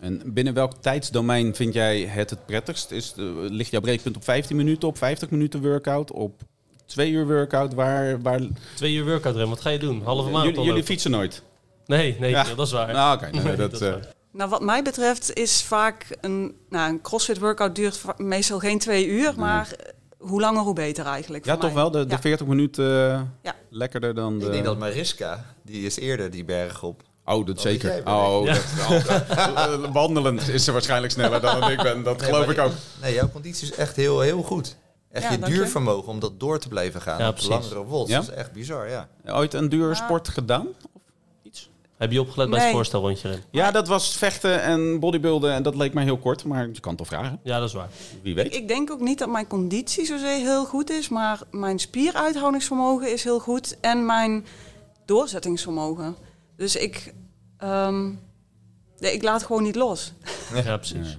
Speaker 3: En binnen welk tijdsdomein vind jij het het prettigst? Is, eh, ligt jouw breekpunt op 15 minuten, op 50 minuten workout, op 2 uur workout? Waar, waar...
Speaker 1: Twee uur workout, Rem. Wat ga je doen? Halve maand
Speaker 3: Eh, Jullie, jullie fietsen nooit?
Speaker 1: Nee, nee,
Speaker 3: Ja.
Speaker 1: ja, dat is waar.
Speaker 3: Nou, oké. nou,
Speaker 1: Nee, <laughs>
Speaker 3: dat,
Speaker 1: dat
Speaker 3: eh,
Speaker 1: wel.
Speaker 4: Nou, wat mij betreft is vaak een, nou, een crossfit workout duurt va- meestal geen twee uur. Maar eh, hoe langer hoe beter eigenlijk.
Speaker 3: ja,
Speaker 4: voor
Speaker 3: toch
Speaker 4: mij.
Speaker 3: wel? De, de
Speaker 4: Ja.
Speaker 3: 40 minuten eh,
Speaker 4: Ja.
Speaker 3: lekkerder dan de...
Speaker 2: Ik denk dat Mariska, die is eerder die berg op.
Speaker 3: Oh, dat
Speaker 2: Oh,
Speaker 3: zeker.
Speaker 2: dat jij
Speaker 3: oh,
Speaker 1: bent.
Speaker 3: dat- oh, eh, wandelend is ze waarschijnlijk sneller dan dat ik ben. Dat
Speaker 2: Nee,
Speaker 3: geloof
Speaker 2: maar
Speaker 3: ik ook.
Speaker 2: Nee, jouw conditie is echt heel, heel goed. Echt
Speaker 4: Ja,
Speaker 2: je
Speaker 4: dank je.
Speaker 2: duurvermogen om dat door te blijven gaan.
Speaker 1: Ja,
Speaker 2: op
Speaker 1: precies.
Speaker 2: Langere wols.
Speaker 3: Ja?
Speaker 2: Dat is echt bizar, ja.
Speaker 3: Ooit een
Speaker 2: Ah.
Speaker 3: duur sport gedaan?
Speaker 1: Heb je opgelet bij het
Speaker 4: Nee.
Speaker 1: voorstelrondje, Rem?
Speaker 3: Ja, dat was vechten en bodybuilden. En dat leek mij heel kort. Maar je kan toch vragen?
Speaker 1: Ja, dat is waar.
Speaker 3: Wie weet.
Speaker 4: Ik denk ook niet dat mijn conditie zozeer heel goed is. Maar mijn spieruithoudingsvermogen is heel goed. En mijn doorzettingsvermogen. Dus ik, ehm, nee, ik laat gewoon niet los.
Speaker 1: Ja, precies.
Speaker 3: Ja.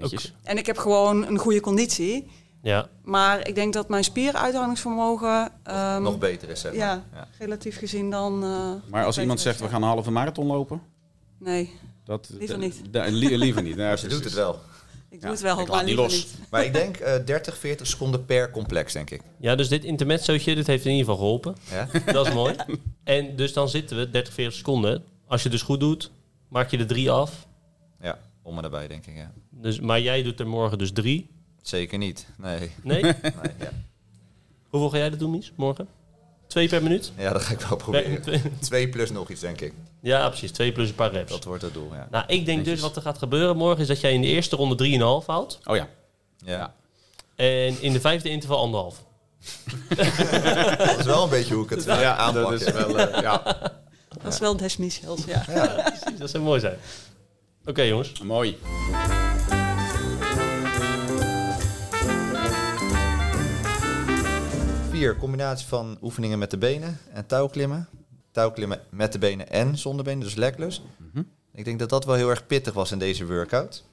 Speaker 3: Netjes.
Speaker 4: En ik heb gewoon een goede conditie.
Speaker 1: Ja,
Speaker 4: Maar ik denk dat mijn spieruithoudingsvermogen ehm,
Speaker 2: Nog beter is, zeg maar.
Speaker 4: ja,
Speaker 2: Ja.
Speaker 4: relatief gezien dan... eh,
Speaker 3: Maar als
Speaker 4: beter
Speaker 3: iemand
Speaker 4: is,
Speaker 3: zegt, we
Speaker 4: ja.
Speaker 3: gaan een halve marathon lopen...
Speaker 4: Nee,
Speaker 3: Dat,
Speaker 4: Liever
Speaker 3: da-
Speaker 4: niet.
Speaker 3: da- li- liever niet. Ja,
Speaker 2: Ze doet het
Speaker 3: precies.
Speaker 2: wel.
Speaker 4: ik doe
Speaker 3: Ja,
Speaker 4: het wel.
Speaker 3: ik laat
Speaker 4: maar
Speaker 3: niet
Speaker 4: liever
Speaker 3: los.
Speaker 4: niet.
Speaker 2: Maar ik denk eh, 30, 40 seconden per complex, denk ik.
Speaker 1: ja dus dit intermezzootje, dit heeft in ieder geval geholpen.
Speaker 2: Ja?
Speaker 1: Dat is mooi. En dus dan zitten we 30, 40 seconden. Als je dus goed doet, maak je er drie af.
Speaker 2: ja, om en nabij, denk ik. Ja.
Speaker 1: Dus, maar jij doet er morgen dus drie.
Speaker 2: Zeker niet. Nee.
Speaker 1: Nee?
Speaker 2: nee ja.
Speaker 1: Hoeveel ga jij dat doen, Mies? Morgen? Twee per minuut?
Speaker 2: ja, dat ga ik wel
Speaker 1: Per-
Speaker 2: proberen.
Speaker 1: twee-
Speaker 2: Twee plus nog iets, denk ik.
Speaker 1: Ja, precies. Twee plus een paar reps.
Speaker 2: Dat wordt het doel, ja.
Speaker 1: Nou, ik denk
Speaker 3: Netjes.
Speaker 1: dus wat er gaat gebeuren morgen is dat jij in de eerste ronde 3,5 houdt.
Speaker 3: Oh ja.
Speaker 2: ja.
Speaker 1: En in de vijfde interval anderhalf.
Speaker 2: Dat is wel een beetje hoe ik het eh, aanpak.
Speaker 3: dat
Speaker 2: <laughs>
Speaker 3: is
Speaker 2: ja.
Speaker 3: wel... eh, ja.
Speaker 4: Dat is wel Des Michels, ja.
Speaker 1: Precies, dat zou mooi zijn. Oké, jongens.
Speaker 3: Mooi.
Speaker 2: Vier, combinatie van oefeningen met de benen en touwklimmen. Touwklimmen met de benen en zonder benen, dus legless.
Speaker 3: Mhm.
Speaker 2: Ik denk dat dat wel heel erg pittig was in deze workout.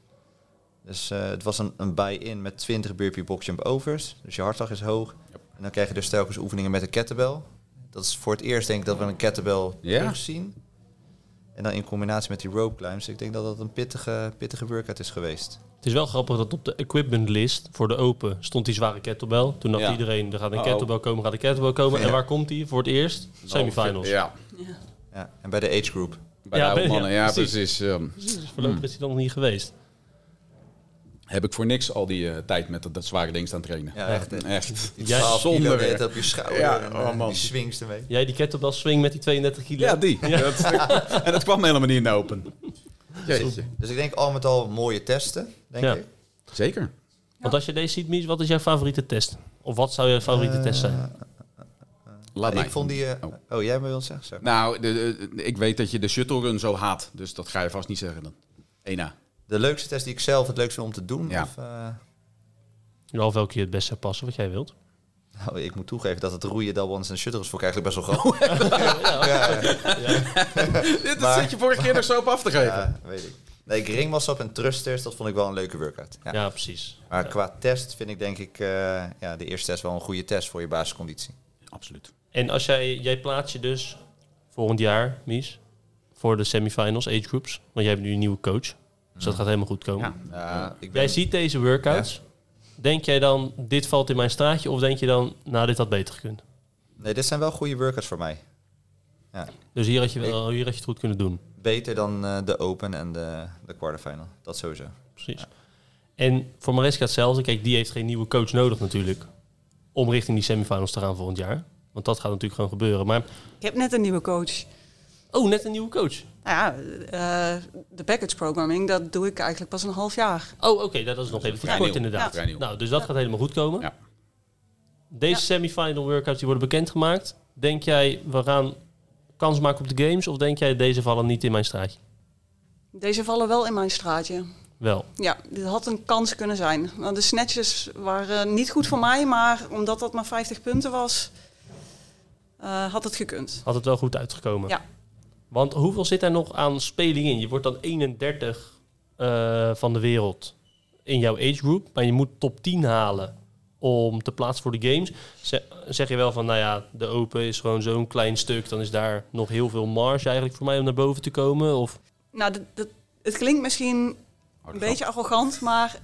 Speaker 2: Dus eh, het was een, een buy-in met 20 burpee boxjump overs. Dus je hartslag is hoog. En dan krijg je dus telkens oefeningen met een kettlebell. Dat is voor het eerst denk ik dat we een kettlebell
Speaker 3: Ja.
Speaker 2: terugzien. En dan in combinatie met die rope climbs. Ik denk dat dat een pittige, pittige workout is geweest.
Speaker 1: Het is wel grappig dat op de equipment list voor de open stond die zware kettlebell. Toen dacht
Speaker 3: Ja. Oh.
Speaker 1: iedereen, er gaat een
Speaker 3: Uh-oh.
Speaker 1: kettlebell komen, gaat een kettlebell komen. En
Speaker 2: Ja.
Speaker 1: waar komt die voor het eerst? Semifinals. Ja.
Speaker 3: Ja.
Speaker 2: Ja. En bij de age group.
Speaker 3: Bij
Speaker 1: Ja,
Speaker 3: de oude
Speaker 1: ben- ja,
Speaker 3: mannen. Ja,
Speaker 1: precies.
Speaker 3: precies. ehm,
Speaker 1: Dus voorlopig is die dan nog niet geweest.
Speaker 3: heb ik voor niks al die eh, tijd met dat, dat zware ding staan trainen.
Speaker 2: Ja, echt.
Speaker 3: Echt.
Speaker 2: Die
Speaker 1: Jij-
Speaker 2: 12 kilo de
Speaker 3: Zonder
Speaker 2: hele
Speaker 3: weer.
Speaker 2: tijd op je schouder.
Speaker 3: Ja,
Speaker 2: en,
Speaker 3: oh
Speaker 2: eh,
Speaker 3: man.
Speaker 2: Die swings ermee.
Speaker 1: Jij die kettlebell swing met die 32 kilo.
Speaker 3: Ja, die. Dat, en dat kwam helemaal niet in de open. Jeetje.
Speaker 2: Dus ik denk al met al mooie testen, denk
Speaker 1: Ja.
Speaker 2: ik.
Speaker 3: Zeker.
Speaker 1: Want als je deze ziet, Mies, wat is jouw favoriete test? Of wat zou jouw favoriete test zijn?
Speaker 3: Laat mij.
Speaker 2: Ik vond die... eh,
Speaker 3: Oh.
Speaker 2: oh. jij wil het zeggen? Zeg.
Speaker 3: Nou, de- de- ik weet dat je de shuttle run zo haat. Dus dat ga je vast niet zeggen dan. Ena.
Speaker 2: De leukste test die ik zelf het leukste vind om te doen?
Speaker 3: Ja.
Speaker 2: Of, eh, <laughs>
Speaker 1: Ja, Of welke je het best zou passen, wat jij wilt.
Speaker 2: nou, ik moet toegeven dat het roeien, doubles en shuttles vond ik eigenlijk best wel grappig.
Speaker 3: Dit
Speaker 2: Maar-
Speaker 3: zit je vorige keer nog zo op af te geven.
Speaker 2: ja, weet ik. Nee, ik ringwassap en thrusters, dat vond ik wel een leuke workout. Ja.
Speaker 1: Ja, precies.
Speaker 2: Maar qua test vind ik denk ik eh, ja, de eerste test wel een goede test voor je basisconditie.
Speaker 3: Absoluut.
Speaker 1: En als jij, jij plaatst je dus volgend jaar, Mies, voor de semifinals, age groups. Want jij hebt nu een nieuwe coach. Dus dat gaat helemaal goed komen.
Speaker 3: Hmm. Ja.
Speaker 2: Ja, Eh, ik ben-
Speaker 1: Jij ziet deze workouts. Denk jij dan, dit valt in mijn straatje? Of denk je dan, nou, dit had beter gekund?
Speaker 2: Nee, dit zijn wel goede workouts voor mij. Ja.
Speaker 1: Dus hier had je, wel, hier had je het goed kunnen doen.
Speaker 2: Beter dan eh, de Open en de, de quarterfinal. Dat sowieso.
Speaker 1: Precies. En voor Mariska hetzelfde. Kijk, die heeft geen nieuwe coach nodig natuurlijk. Om richting die semifinals te gaan volgend jaar. Want dat gaat natuurlijk gewoon gebeuren. Maar,
Speaker 4: Ik heb net een nieuwe coach.
Speaker 1: oh, net een nieuwe coach.
Speaker 4: Nou ja, eh, de package programming, dat doe ik eigenlijk pas een half jaar.
Speaker 1: Oh, oké, dat is nog even
Speaker 3: vrij
Speaker 1: kort
Speaker 3: nieuw.
Speaker 1: inderdaad.
Speaker 3: Ja, vrij nieuw.
Speaker 1: nou, dus dat gaat helemaal goed komen.
Speaker 3: Ja.
Speaker 1: Deze
Speaker 4: Ja.
Speaker 1: semifinal workouts die worden bekendgemaakt. Denk jij, we gaan kans maken op de games? Of denk jij, deze vallen niet in mijn straatje?
Speaker 4: Deze vallen wel in mijn straatje.
Speaker 1: wel.
Speaker 4: Ja, dit had een kans kunnen zijn. Nou, De snatches waren niet goed voor mij, maar omdat dat maar 50 punten was, eh, had het gekund.
Speaker 1: Had het wel goed uitgekomen.
Speaker 4: Ja.
Speaker 1: Want hoeveel zit er nog aan speling in? Je wordt dan 31 eh, van de wereld in jouw age group. Maar je moet top 10 halen om te plaatsen voor de games. Ze- Zeg je wel van, nou ja, de open is gewoon zo'n klein stuk. Dan is daar nog heel veel marge eigenlijk voor mij om naar boven te komen. Of
Speaker 4: Nou, dat- dat- het klinkt misschien
Speaker 1: Oh,
Speaker 4: een beetje arrogant, maar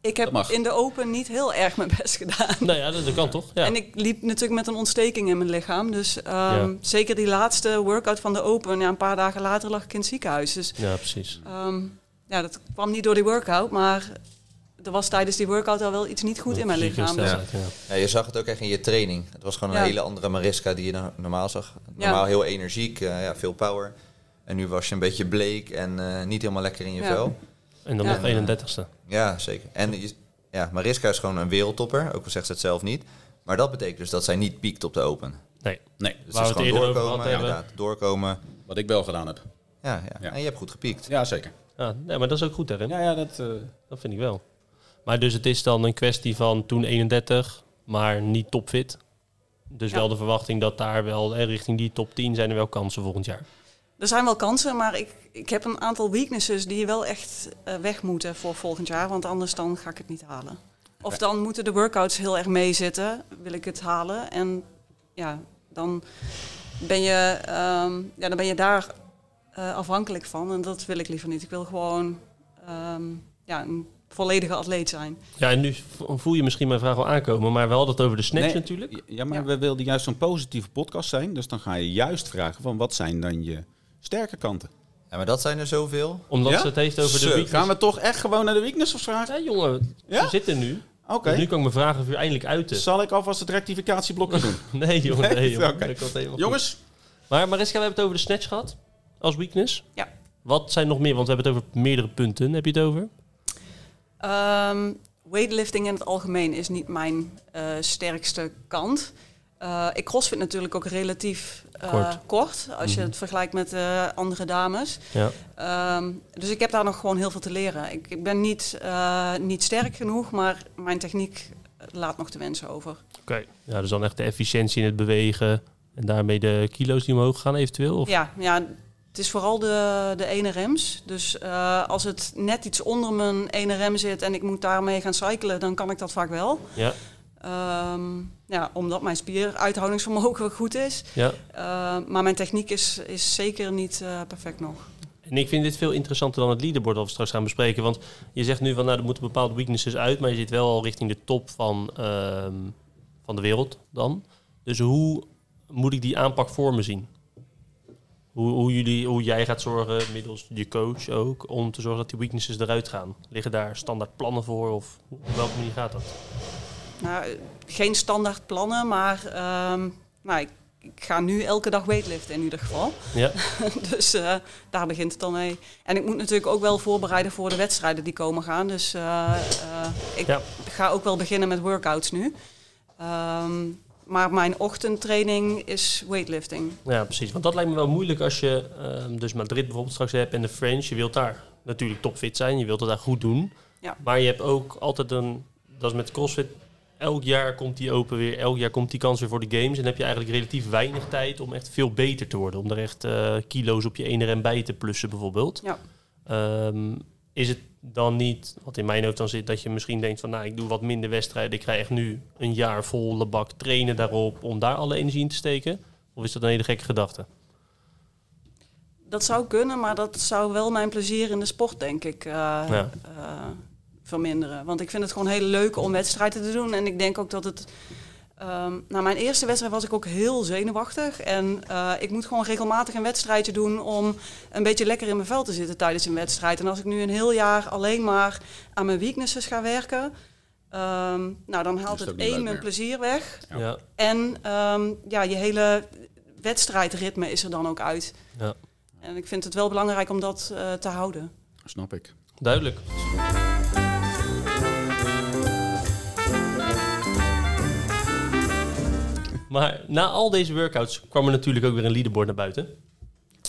Speaker 4: ik
Speaker 3: Dat
Speaker 4: heb
Speaker 3: mag.
Speaker 4: in de open niet heel erg mijn best gedaan.
Speaker 1: nou ja, dat, dat kan toch? Ja.
Speaker 4: En ik liep natuurlijk met een ontsteking in mijn lichaam. Dus ehm,
Speaker 1: Ja.
Speaker 4: zeker die laatste workout van de open. Ja, een paar dagen later lag ik in het ziekenhuis. Dus
Speaker 1: ja, precies.
Speaker 4: ehm, ja, dat kwam niet door die workout. Maar er was tijdens die workout al wel iets niet goed in mijn
Speaker 1: Fysieke
Speaker 4: lichaam. Dus-
Speaker 1: gesteldheid, Oh, ja.
Speaker 2: Ja, je zag het ook echt in je training. Het was gewoon een
Speaker 4: Ja.
Speaker 2: hele andere Mariska die je no- normaal zag.
Speaker 4: Ja.
Speaker 2: Normaal heel energiek, eh, ja, veel power. En nu was je een beetje bleek en eh, niet helemaal lekker in je
Speaker 4: Ja.
Speaker 2: vel.
Speaker 1: En dan
Speaker 4: Ja.
Speaker 1: nog 31ste.
Speaker 2: Ja, zeker. En je- ja, Mariska is gewoon een wereldtopper, ook al zegt ze het zelf niet. Maar dat betekent dus dat zij niet piekt op de open.
Speaker 1: Nee.
Speaker 3: Nee,
Speaker 2: Dus
Speaker 1: Waar
Speaker 2: het
Speaker 1: we het
Speaker 2: is gewoon
Speaker 1: eerder over
Speaker 2: doorkomen,
Speaker 1: gehad
Speaker 2: inderdaad, doorkomen.
Speaker 3: wat ik wel gedaan heb.
Speaker 2: Ja, ja.
Speaker 3: Ja.
Speaker 2: en je hebt goed gepiekt.
Speaker 3: Ja, zeker.
Speaker 1: Ja, Ah, nee, maar dat is ook goed daarin.
Speaker 3: Ja, ja, dat... eh,
Speaker 1: Dat vind ik wel. Maar dus het is dan een kwestie van toen 31, maar niet topfit. Dus
Speaker 4: Ja.
Speaker 1: wel de verwachting dat daar wel eh, richting die top 10 zijn er wel kansen volgend jaar.
Speaker 4: Er zijn wel kansen, maar ik, ik heb een aantal weaknesses die wel echt eh, weg moeten voor volgend jaar. Want anders dan ga ik het niet halen. Of dan moeten de workouts heel erg meezitten, wil ik het halen. En ja, dan ben je, ehm, ja, dan ben je daar eh, afhankelijk van. En dat wil ik liever niet. Ik wil gewoon ehm, ja, een volledige atleet zijn.
Speaker 1: Ja, en nu v- voel je misschien mijn vraag wel aankomen, maar we hadden het over de snatch natuurlijk.
Speaker 3: Ja, maar
Speaker 4: Ja.
Speaker 3: we wilden juist zo'n positieve podcast zijn. Dus dan ga je juist vragen van wat zijn dan je sterke kanten?
Speaker 2: Ja, maar dat zijn er zoveel.
Speaker 1: Omdat
Speaker 3: Ja?
Speaker 1: ze het heeft over de
Speaker 3: Zo,
Speaker 1: week.
Speaker 3: Gaan we toch echt gewoon naar de weaknesses vragen?
Speaker 1: Ja, jongen,
Speaker 3: Ja?
Speaker 1: we zitten nu.
Speaker 3: Oké.
Speaker 1: Dus nu kan ik mijn vragen voor u eindelijk uiten.
Speaker 3: Zal ik alvast het rectificatieblokje doen?
Speaker 1: <laughs> Nee, jongen, nee,
Speaker 3: Nee?
Speaker 1: jongen.
Speaker 3: Oké.
Speaker 1: Dat komt helemaal goed.
Speaker 3: Jongens,
Speaker 1: Maar Mariska, we hebben het over de snatch gehad als weakness.
Speaker 4: Ja.
Speaker 1: Wat zijn nog meer? Want we hebben het over meerdere punten. Heb je het over?
Speaker 4: Ehm, weightlifting in het algemeen is niet mijn eh, sterkste kant. Eh, ik crossfit natuurlijk ook relatief eh,
Speaker 1: Kort.
Speaker 4: kort. als je het vergelijkt met eh, andere dames.
Speaker 1: Ja.
Speaker 4: Ehm, dus ik heb daar nog gewoon heel veel te leren. Ik, ik ben niet, eh, niet sterk genoeg, maar mijn techniek laat nog te wensen over.
Speaker 1: Oké. Ja, dus dan echt de efficiëntie in het bewegen en daarmee de kilo's die omhoog gaan eventueel? Of?
Speaker 4: Ja, ja, het is vooral de, de ene rems. Dus eh, als het net iets onder mijn ene rem zit en ik moet daarmee gaan cyclen, dan kan ik dat vaak wel.
Speaker 1: Ja.
Speaker 4: Ehm, ja, omdat mijn spieruithoudingsvermogen <laughs> goed is.
Speaker 1: ja.
Speaker 4: Eh, maar mijn techniek is, is zeker niet eh, perfect nog.
Speaker 1: En ik vind dit veel interessanter dan het leaderboard dat we straks gaan bespreken. Want je zegt nu van, nou, er moeten bepaalde weaknesses uit, maar je zit wel al richting de top van, ehm, van de wereld dan. Dus hoe moet ik die aanpak voor me zien? Hoe, hoe, jullie, hoe jij gaat zorgen, middels je coach ook, om te zorgen dat die weaknesses eruit gaan. Liggen daar standaard plannen voor of op welke manier gaat dat?
Speaker 4: Nou, eh, geen standaard plannen, maar ehm, nou, ik, ik ga nu elke dag weightliften in ieder geval. <laughs>
Speaker 1: Ja,
Speaker 4: dus eh, daar begint het dan mee. En ik moet natuurlijk ook wel voorbereiden voor de wedstrijden die komen gaan. Dus eh, eh, ik
Speaker 1: Ja.
Speaker 4: ga ook wel beginnen met workouts nu. Ehm, maar mijn ochtendtraining is weightlifting.
Speaker 1: ja precies. Want dat lijkt me wel moeilijk als je ehm, dus Madrid bijvoorbeeld straks hebt en de French. Je wilt daar natuurlijk topfit zijn, je wilt het daar goed doen.
Speaker 4: Ja.
Speaker 1: Maar je hebt ook altijd een, dat is met CrossFit, elk jaar komt die open weer, elk jaar komt die kans weer voor de games. En dan heb je eigenlijk relatief weinig tijd om echt veel beter te worden. Om er echt eh, kilo's op je ene rem bij te plussen bijvoorbeeld.
Speaker 4: Ja.
Speaker 1: Ehm, is het dan niet, wat in mijn hoofd dan zit, dat je misschien denkt van nou ik doe wat minder wedstrijden. Ik krijg nu een jaar volle bak trainen daarop om daar alle energie in te steken. Of is dat een hele gekke gedachte?
Speaker 4: Dat zou kunnen, maar dat zou wel mijn plezier in de sport, denk ik, eh,
Speaker 1: Ja.
Speaker 4: eh, verminderen. Want ik vind het gewoon heel leuk om wedstrijden te doen. En ik denk ook dat het... ehm na mijn eerste wedstrijd was ik ook heel zenuwachtig. En eh, ik moet gewoon regelmatig een wedstrijdje doen om een beetje lekker in mijn vel te zitten tijdens een wedstrijd. En als ik nu een heel jaar alleen maar aan mijn weaknesses ga werken... ehm, nou, dan haalt
Speaker 3: het
Speaker 4: het
Speaker 3: ook niet leuk
Speaker 4: één mijn
Speaker 3: meer.
Speaker 4: plezier weg.
Speaker 3: Ja.
Speaker 1: ja.
Speaker 4: En ehm, ja, je hele wedstrijdritme is er dan ook uit.
Speaker 1: ja.
Speaker 4: En ik vind het wel belangrijk om dat eh, te houden.
Speaker 3: snap ik.
Speaker 1: Duidelijk. Maar na al deze workouts kwam er natuurlijk ook weer een leaderboard naar buiten.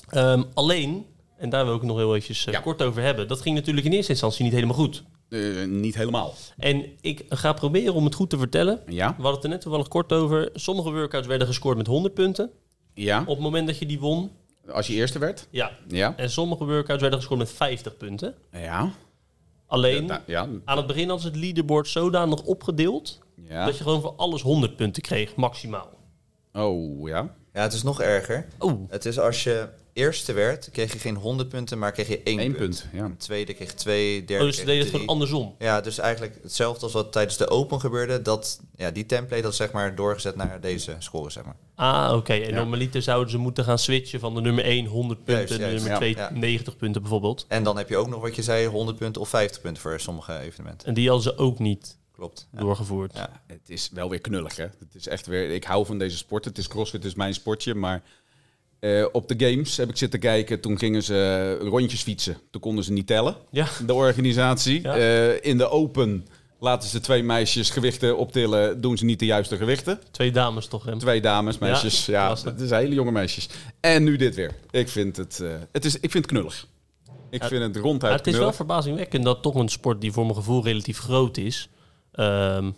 Speaker 1: Ehm, alleen En daar wil ik nog heel eventjes eh,
Speaker 3: Ja.
Speaker 1: kort over hebben. Dat ging natuurlijk in eerste instantie niet helemaal goed.
Speaker 3: Eh, niet helemaal.
Speaker 1: En ik ga proberen om het goed te vertellen.
Speaker 3: Ja?
Speaker 1: We hadden het er net toevallig kort over. Sommige workouts werden gescoord met 100 punten.
Speaker 3: Ja?
Speaker 1: Op het moment dat je die won.
Speaker 3: Als je eerste werd?
Speaker 1: Ja.
Speaker 3: Ja?
Speaker 1: En sommige workouts werden gescoord met 50 punten.
Speaker 3: Ja?
Speaker 1: Alleen,
Speaker 3: Ja, ja.
Speaker 1: aan het begin hadden ze het leaderboard zodanig opgedeeld...
Speaker 3: ja.
Speaker 1: dat je gewoon voor alles 100 punten kreeg, maximaal.
Speaker 3: Oh, ja.
Speaker 2: Ja, het is nog erger.
Speaker 1: Oeh.
Speaker 2: Het is als je eerste werd, kreeg je geen 100 punten, maar kreeg je één
Speaker 3: Eén
Speaker 2: punt.
Speaker 3: punt. Ja.
Speaker 2: Tweede kreeg twee, derde
Speaker 1: Oh, dus ze
Speaker 2: kreeg
Speaker 1: deden het
Speaker 2: drie.
Speaker 1: gewoon andersom.
Speaker 2: Ja, dus eigenlijk hetzelfde als wat tijdens de Open gebeurde. Dat, ja, die template dat zeg maar doorgezet naar deze score, zeg maar.
Speaker 1: Ah, oké. En
Speaker 3: Ja.
Speaker 1: normaliter zouden ze moeten gaan switchen van de nummer 1 100 punten...
Speaker 2: Juist,
Speaker 1: en de
Speaker 2: juist,
Speaker 1: nummer
Speaker 2: ja,
Speaker 1: 2
Speaker 2: ja.
Speaker 1: 90 punten bijvoorbeeld.
Speaker 2: En dan heb je ook nog wat je zei, 100 punten of 50 punten voor sommige evenementen.
Speaker 1: En die hadden ze ook niet
Speaker 2: Klopt. Ja.
Speaker 1: doorgevoerd.
Speaker 2: Ja.
Speaker 3: Het is wel weer knullig, hè? Het is echt weer... Ik hou van deze sport. Het is crossfit, het is mijn sportje. Maar eh, op de games heb ik zitten kijken. Toen gingen ze eh, rondjes fietsen. Toen konden ze niet tellen.
Speaker 1: Ja.
Speaker 3: De organisatie.
Speaker 1: Ja.
Speaker 3: Eh, in de open laten ze twee meisjes gewichten optillen. Doen ze niet de juiste gewichten.
Speaker 1: Twee dames toch, hè?
Speaker 3: Twee dames, meisjes.
Speaker 1: Ja,
Speaker 3: Ja,
Speaker 1: lastig.
Speaker 3: het is hele jonge meisjes. En nu dit weer. Ik vind het, eh, het, is, ik vind het knullig. Ik
Speaker 1: Ja,
Speaker 3: vind het
Speaker 1: Maar
Speaker 3: ronduit
Speaker 1: het is wel
Speaker 3: knullig.
Speaker 1: verbazingwekkend dat toch een sport die voor mijn gevoel relatief groot is. ehm,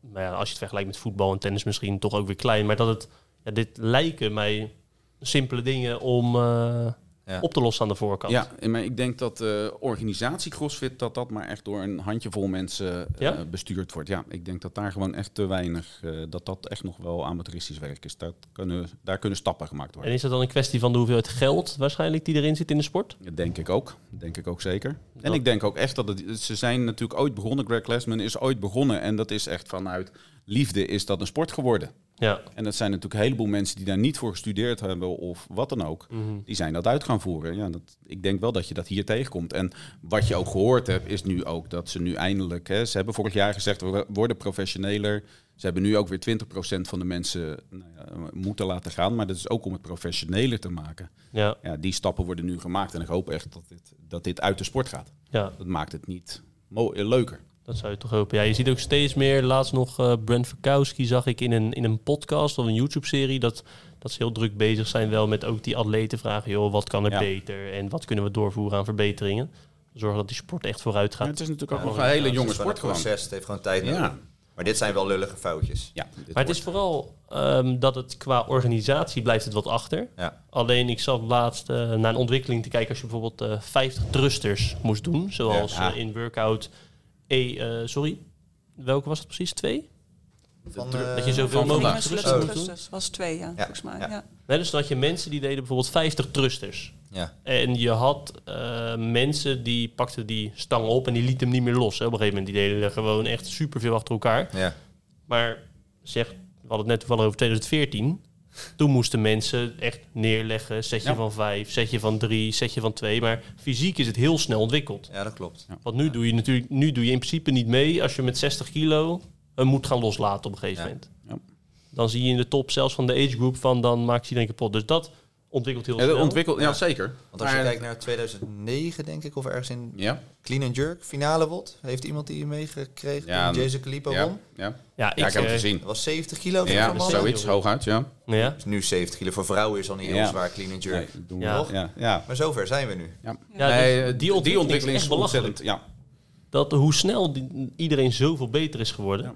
Speaker 1: nou ja, als je het vergelijkt met voetbal en tennis misschien toch ook weer klein. Maar dat het, ja, dit lijken mij simpele dingen om eh,
Speaker 2: Ja.
Speaker 1: op te lossen aan de voorkant.
Speaker 3: Ja, en maar ik denk dat de organisatie CrossFit dat dat maar echt door een handjevol mensen eh,
Speaker 1: Ja?
Speaker 3: bestuurd wordt. Ja, ik denk dat daar gewoon echt te weinig, eh, dat dat echt nog wel amateuristisch werk is. Daar kunnen, daar kunnen stappen gemaakt
Speaker 1: En
Speaker 3: worden.
Speaker 1: is dat dan een kwestie van de hoeveelheid geld waarschijnlijk die erin zit in de sport?
Speaker 3: Dat denk ik ook. Dat Denk ik ook zeker. En
Speaker 1: Dat-
Speaker 3: ik denk ook echt dat het, ze zijn natuurlijk ooit begonnen. Greg Lesman is ooit begonnen en dat is echt vanuit liefde is dat een sport geworden.
Speaker 1: Ja,
Speaker 3: En dat zijn natuurlijk een heleboel mensen die daar niet voor gestudeerd hebben of wat dan ook. Die zijn dat uit gaan voeren. Ja, dat, ik denk wel dat je dat hier tegenkomt. En wat je ook gehoord hebt, is nu ook dat ze nu eindelijk... Hè, ze hebben vorig jaar gezegd, we worden professioneler. Ze hebben nu ook weer 20% van de mensen nou ja, moeten laten gaan. Maar dat is ook om het professioneler te maken.
Speaker 1: ja,
Speaker 3: Ja, die stappen worden nu gemaakt. En ik hoop echt dat dit, dat dit uit de sport gaat.
Speaker 1: ja,
Speaker 3: Dat maakt het niet mo- eh, leuker.
Speaker 1: dat zou je toch hopen. Ja, je ziet ook steeds meer, laatst nog eh Brent Verkowski zag ik in een, in een podcast of een YouTube-serie... Dat, dat ze heel druk bezig zijn wel met ook die atleten vragen... joh, wat kan er
Speaker 3: Ja.
Speaker 1: beter en wat kunnen we doorvoeren aan verbeteringen? Zorgen dat die sport echt vooruit
Speaker 3: Maar
Speaker 1: gaat.
Speaker 3: het is natuurlijk ook
Speaker 2: Ja,
Speaker 3: nog een hele
Speaker 2: Ja, Dus het
Speaker 3: jonge
Speaker 2: is gewoon
Speaker 3: sport
Speaker 2: een
Speaker 3: gewoon.
Speaker 2: proces, het heeft gewoon tijd
Speaker 3: Ja.
Speaker 2: nodig. Maar dit zijn wel lullige foutjes.
Speaker 3: Ja, dit
Speaker 1: Maar het
Speaker 3: wordt-
Speaker 1: is vooral ehm, dat het qua organisatie blijft het wat achter.
Speaker 2: Ja.
Speaker 1: Alleen ik zat laatst eh, naar een ontwikkeling te kijken als je bijvoorbeeld eh 50 thrusters moest doen. Zoals
Speaker 3: Ja.
Speaker 1: eh, in workout E, eh, sorry, welke was het precies? Twee?
Speaker 2: Van,
Speaker 3: dru-
Speaker 2: eh,
Speaker 1: dat je zoveel
Speaker 3: van
Speaker 1: mogelijk
Speaker 3: vandaag.
Speaker 1: thrusters
Speaker 2: Oh.
Speaker 1: moest doen.
Speaker 4: Dat was twee, ja, volgens mij.
Speaker 2: ja.
Speaker 4: Ja.
Speaker 1: Nee, dus dan had je mensen die deden bijvoorbeeld 50 thrusters.
Speaker 2: Ja.
Speaker 1: En je had eh, mensen die pakten die stang op en die lieten hem niet meer los. Hè. Op een gegeven moment die deden er gewoon echt superveel achter elkaar.
Speaker 2: Ja.
Speaker 1: Maar zeg, we hadden het net toevallig over 2014. Toen moesten mensen echt neerleggen. Setje
Speaker 3: Ja.
Speaker 1: van vijf, setje van drie, setje van twee. Maar fysiek is het heel snel ontwikkeld.
Speaker 2: ja, dat klopt.
Speaker 1: Want nu doe je natuurlijk, nu doe je in principe niet mee als je met 60 kilo een moet gaan loslaten op een gegeven
Speaker 2: Ja.
Speaker 1: moment.
Speaker 3: Ja.
Speaker 1: Dan zie je in de top zelfs van de age group van dan maakt ze iedereen kapot. Dus dat ontwikkelt heel
Speaker 3: Ja, dat
Speaker 1: snel.
Speaker 3: ontwikkelt, ja, zeker.
Speaker 2: Want als je
Speaker 3: Maar-
Speaker 2: kijkt naar 2009, denk ik, of ergens in
Speaker 3: Ja,
Speaker 2: Clean and Jerk, finale wordt. Heeft iemand die meegekregen?
Speaker 3: Ja,
Speaker 2: toen Jason Calipo
Speaker 3: ja,
Speaker 2: won.
Speaker 3: ja.
Speaker 1: ja, ik,
Speaker 3: ja, ik heb
Speaker 1: eh,
Speaker 3: het gezien.
Speaker 2: Dat was 70 kilo. voor
Speaker 3: Ja,
Speaker 2: mannen.
Speaker 1: mannen.
Speaker 3: zoiets, hooguit, ja.
Speaker 1: Ja,
Speaker 2: Dus nu 70 kilo. Voor vrouwen is al niet heel
Speaker 3: Ja.
Speaker 2: zwaar Clean and Jerk.
Speaker 3: Nee, doen we
Speaker 1: Ja.
Speaker 3: nog. ja. ja.
Speaker 2: Maar zover zijn we nu.
Speaker 1: ja, dus
Speaker 3: Nee, eh,
Speaker 1: die ontwikkeling, is echt belachelijk.
Speaker 3: Ja.
Speaker 1: dat hoe snel die- iedereen zoveel beter is geworden.
Speaker 3: Ja.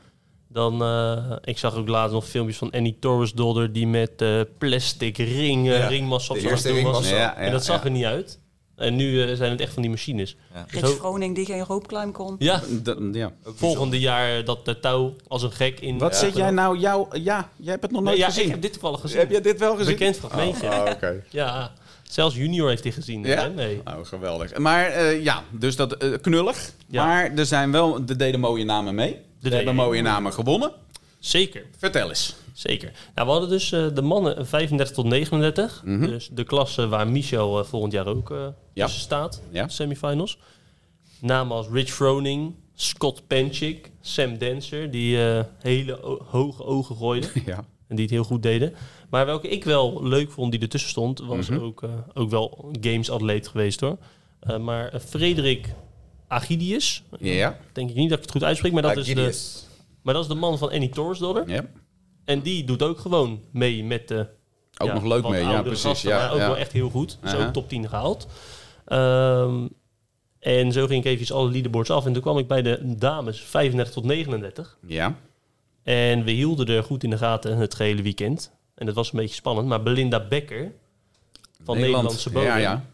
Speaker 1: Dan, eh, ik zag ook laatst nog filmpjes van Annie Torres Dodder die met eh, plastic ring, eh,
Speaker 2: Ja,
Speaker 1: ringmassa op
Speaker 2: de
Speaker 1: zo'n
Speaker 2: eerste
Speaker 1: doen was.
Speaker 2: ringmassa.
Speaker 3: Ja, ja,
Speaker 1: en dat zag
Speaker 3: ja.
Speaker 1: er niet uit. En nu eh, zijn het echt van die machines.
Speaker 2: Ja.
Speaker 1: Dus
Speaker 4: Rich
Speaker 1: ho-
Speaker 4: Vroning die geen rope climb kon.
Speaker 1: ja,
Speaker 3: Dat- ja.
Speaker 2: Ook
Speaker 1: volgende jaar eh, dat de touw als een gek in.
Speaker 3: Wat
Speaker 1: Ja.
Speaker 3: zit jij nou, jou, ja, jij hebt het nog nooit
Speaker 1: Nee, ja,
Speaker 3: gezien.
Speaker 1: ik heb dit toevallig gezien.
Speaker 3: Heb jij dit wel gezien?
Speaker 1: Bekend fragmentje.
Speaker 3: Oh, oké.
Speaker 1: <laughs> Ja, zelfs junior heeft die gezien.
Speaker 3: Ja?
Speaker 1: hè? Nee.
Speaker 3: Oh, geweldig. Maar eh, ja, dus dat eh, knullig.
Speaker 1: Ja.
Speaker 3: Maar er zijn wel, er deden mooie namen mee. Ze
Speaker 1: deden-
Speaker 3: hebben mooie namen gewonnen.
Speaker 1: Zeker.
Speaker 3: Vertel eens.
Speaker 1: Zeker. Nou, we hadden dus eh, de mannen 35 tot 39. Dus de klasse waar Michel eh, volgend jaar ook eh
Speaker 3: Mhm. Ja.
Speaker 1: tussen staat.
Speaker 3: Ja.
Speaker 1: Semifinals. Namen als Rich Froning, Scott Penchik, Sam Dancer. Die eh, hele o- hoge ogen gooiden.
Speaker 3: <laughs> Ja.
Speaker 1: en die het heel goed deden. Maar welke ik wel leuk vond die ertussen stond. Was
Speaker 3: Mhm.
Speaker 1: ook, eh, ook wel games-atleet geweest hoor. Eh, maar eh, Frederik Agidius.
Speaker 3: Ja.
Speaker 1: Denk ik niet dat ik het goed uitspreek. Maar dat, is de,
Speaker 2: Agidius.
Speaker 1: maar dat is de man van Annie Torres Dollar.
Speaker 3: ja.
Speaker 1: En die doet ook gewoon mee met de.
Speaker 3: Ook
Speaker 1: ja,
Speaker 3: nog leuk
Speaker 1: wat
Speaker 3: mee. Ja,
Speaker 1: oudere
Speaker 3: precies.
Speaker 1: gasten,
Speaker 3: Ja, Uh-huh.
Speaker 1: maar ook
Speaker 3: ja.
Speaker 1: wel echt heel goed. Dus
Speaker 3: Aha.
Speaker 1: ook top 10 gehaald. Ehm, en zo ging ik eventjes alle leaderboards af. En toen kwam ik bij de dames 35 tot 39.
Speaker 3: Ja.
Speaker 1: En we hielden er goed in de gaten het gehele weekend. En dat was een beetje spannend. Maar Belinda Becker van Nederlandse bodem.
Speaker 3: Ja, ja.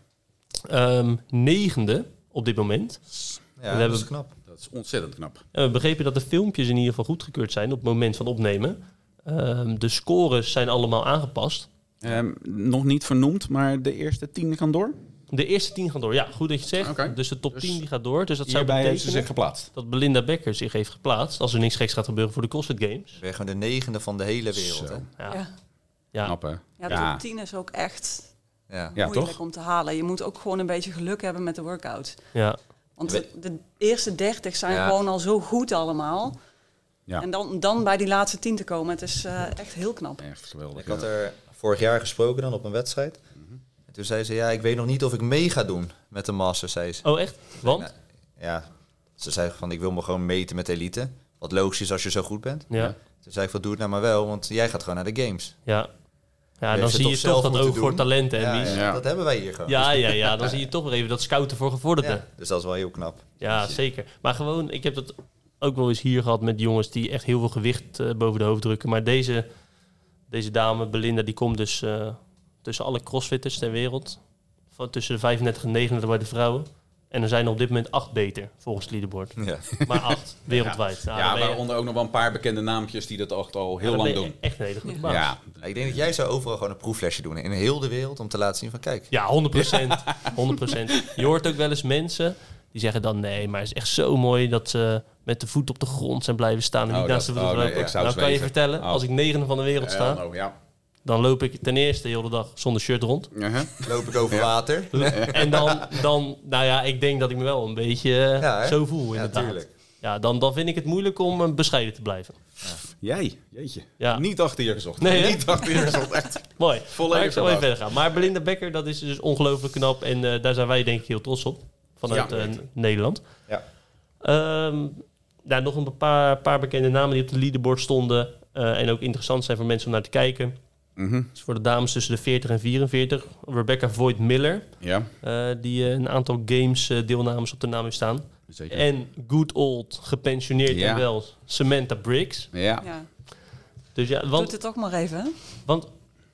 Speaker 1: ehm, negende op dit moment.
Speaker 2: Ja, dat
Speaker 1: hebben-
Speaker 2: is knap.
Speaker 3: Dat is ontzettend knap.
Speaker 1: En we begrepen dat de filmpjes in ieder geval goedgekeurd zijn op het moment van opnemen. Ehm, de scores zijn allemaal aangepast.
Speaker 3: Ehm, nog niet vernoemd, maar de eerste tien kan door.
Speaker 1: De eerste tien gaan door. Ja, goed dat je het zegt.
Speaker 3: Oké.
Speaker 1: Dus de top
Speaker 3: Dus
Speaker 1: 10 die gaat door. Dus dat zou
Speaker 3: Hierbij heeft ze
Speaker 1: betekenen
Speaker 3: zich geplaatst.
Speaker 1: dat Belinda Becker zich heeft geplaatst. Als er niks geks gaat gebeuren voor de CrossFit Games.
Speaker 2: We zijn gewoon de negende van de hele wereld.
Speaker 3: Zo.
Speaker 2: hè.
Speaker 1: Ja, ja.
Speaker 4: Ja.
Speaker 3: Knap, hè?
Speaker 4: Ja,
Speaker 3: ja.
Speaker 4: top 10 is ook echt
Speaker 2: Ja.
Speaker 3: Ja,
Speaker 4: moeilijk
Speaker 3: toch?
Speaker 4: om te halen. Je moet ook gewoon een beetje geluk hebben met de workout.
Speaker 1: ja.
Speaker 4: Want
Speaker 2: We-
Speaker 4: de, de eerste 30 zijn
Speaker 2: Ja.
Speaker 4: gewoon al zo goed allemaal.
Speaker 3: Ja.
Speaker 4: En dan, dan bij die laatste 10 te komen, het is eh, echt heel knap.
Speaker 3: Echt geweldig.
Speaker 2: Ik had
Speaker 3: ja.
Speaker 2: er vorig jaar gesproken dan op een wedstrijd. En toen zei ze, ja, ik weet nog niet of ik mee ga doen met de Masters, zei ze.
Speaker 1: Oh, echt? Want?
Speaker 2: Ja. Ja, ze zei van, ik wil me gewoon meten met de elite. Wat logisch is als je zo goed bent.
Speaker 1: Ja.
Speaker 2: Toen zei ik van, doe het nou maar wel, want jij gaat gewoon naar de games.
Speaker 1: Ja. Ja,
Speaker 2: Heeft
Speaker 1: dan
Speaker 2: ze
Speaker 1: zie
Speaker 2: toch
Speaker 1: je
Speaker 2: zelf
Speaker 1: toch dat
Speaker 2: moeten
Speaker 1: oog voor
Speaker 2: doen?
Speaker 1: talenten.
Speaker 2: Ja,
Speaker 1: En ja,
Speaker 2: ja,
Speaker 3: Ja.
Speaker 2: dat hebben wij hier gewoon.
Speaker 1: ja, ja, ja, dan zie je toch weer even dat scouten voor gevorderden.
Speaker 2: Ja, dus dat is wel heel knap.
Speaker 1: Ja, zeker. Maar gewoon, ik heb dat ook wel eens hier gehad met jongens die echt heel veel gewicht eh, boven de hoofd drukken. Maar deze, deze dame, Belinda, die komt dus eh, tussen alle crossfitters ter wereld. Van tussen de 35 en 39 bij de vrouwen. En er zijn er op dit moment acht beter, volgens het
Speaker 3: <laughs>
Speaker 1: leaderboard.
Speaker 2: Ja.
Speaker 1: Maar acht, wereldwijd. Nou,
Speaker 3: ja,
Speaker 1: dan ben je-
Speaker 3: waaronder ook nog wel een paar bekende naampjes die dat echt al heel
Speaker 1: dan
Speaker 3: lang
Speaker 1: ben je
Speaker 3: doen.
Speaker 1: Echt een hele goede baas. Ja.
Speaker 3: Ja.
Speaker 2: Ik denk dat jij zou overal gewoon een proefflesje doen in heel de wereld om te laten zien van kijk.
Speaker 1: 100 procent. 100 Je hoort ook wel eens mensen die zeggen dan... nee, maar het is echt zo mooi dat ze met de voet op de grond zijn blijven staan... en
Speaker 3: Oh,
Speaker 1: niet naast de
Speaker 3: dat-
Speaker 1: voet op de
Speaker 3: oh, nee,
Speaker 1: grond.
Speaker 3: ik zou
Speaker 1: Nou, kan je
Speaker 3: zweven.
Speaker 1: vertellen,
Speaker 3: Oh.
Speaker 1: als ik negende van de wereld sta...
Speaker 3: Hell no, Eh, oh, ja.
Speaker 1: Dan loop ik ten eerste heel de dag zonder shirt rond.
Speaker 3: Uh-huh.
Speaker 2: Loop ik over water?
Speaker 1: En dan, dan, nou ja, ik denk dat ik me wel een beetje eh,
Speaker 2: Ja, hè?
Speaker 1: zo voel
Speaker 2: Ja,
Speaker 1: inderdaad. Ja,
Speaker 2: tuurlijk.
Speaker 1: dan, dan vind ik het moeilijk om eh, bescheiden te blijven.
Speaker 3: Jij, jeetje.
Speaker 1: Ja.
Speaker 3: Niet achter je gezocht.
Speaker 1: Nee, hè?
Speaker 3: Niet achter je gezocht, echt.
Speaker 1: Mooi.
Speaker 3: Volledig
Speaker 1: maar ik zal even
Speaker 3: verbaasd.
Speaker 1: verder gaan. Maar Belinda Becker, dat is dus ongelooflijk knap. En eh, daar zijn wij denk ik heel trots op. Vanuit
Speaker 3: Ja,
Speaker 1: eh,
Speaker 3: weten.
Speaker 1: Nederland.
Speaker 2: Ja.
Speaker 1: Ehm, nou, nog een paar, paar bekende namen die op de leaderboard stonden. eh, en ook interessant zijn voor mensen om naar te kijken.
Speaker 3: Mhm.
Speaker 1: Dus voor de dames tussen de 40 en 44. Rebecca Voigt Miller.
Speaker 3: Ja,
Speaker 1: eh, die eh, een aantal games eh, deelnames op de naam heeft staan.
Speaker 3: zeker.
Speaker 1: En good old, gepensioneerd
Speaker 3: Ja.
Speaker 1: en wel, Samantha Briggs.
Speaker 3: Ja.
Speaker 4: Ja.
Speaker 1: Dus ja,
Speaker 4: Doet
Speaker 1: want,
Speaker 4: het toch maar even. hè?
Speaker 1: want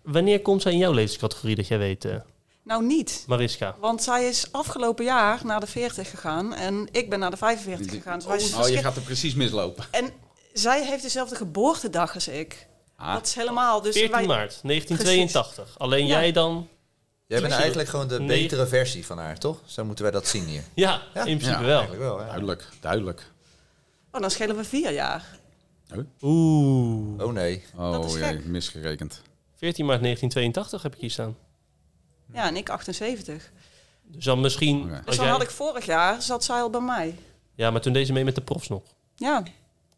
Speaker 1: wanneer komt zij in jouw levenscategorie dat jij weet, eh,
Speaker 4: Nou, niet.
Speaker 1: Mariska?
Speaker 4: Want zij is afgelopen jaar naar de 40 gegaan en ik ben naar de 45 gegaan. Dus wij zijn
Speaker 3: Oh, je
Speaker 4: verschil-
Speaker 3: gaat er precies mislopen.
Speaker 4: En zij heeft dezelfde geboortedag als ik.
Speaker 3: Ah.
Speaker 4: Dat is helemaal... Dus
Speaker 1: 14
Speaker 4: wij,
Speaker 1: maart 1982. Alleen
Speaker 4: Ja.
Speaker 1: jij dan?
Speaker 2: Jij bent
Speaker 1: Nee.
Speaker 2: eigenlijk gewoon de
Speaker 1: Nee.
Speaker 2: betere versie van haar, toch? Zo moeten wij dat zien hier.
Speaker 1: Ja, in principe
Speaker 3: Ja,
Speaker 1: wel.
Speaker 2: Eigenlijk wel, hè?
Speaker 3: Duidelijk, duidelijk.
Speaker 4: Oh, dan schelen we vier jaar.
Speaker 1: Oeh.
Speaker 2: Oh nee.
Speaker 4: Dat is
Speaker 3: Oh, jee,
Speaker 4: gek.
Speaker 3: misgerekend.
Speaker 1: 14 maart 1982 heb ik hier staan. Hm.
Speaker 4: Ja, en ik 78.
Speaker 1: Dus dan misschien...
Speaker 3: Oké.
Speaker 1: Als
Speaker 4: Dus dan
Speaker 1: jij-
Speaker 4: had ik vorig jaar, zat zij al bij mij.
Speaker 1: Ja, maar toen deze mee met de profs nog.
Speaker 4: Ja.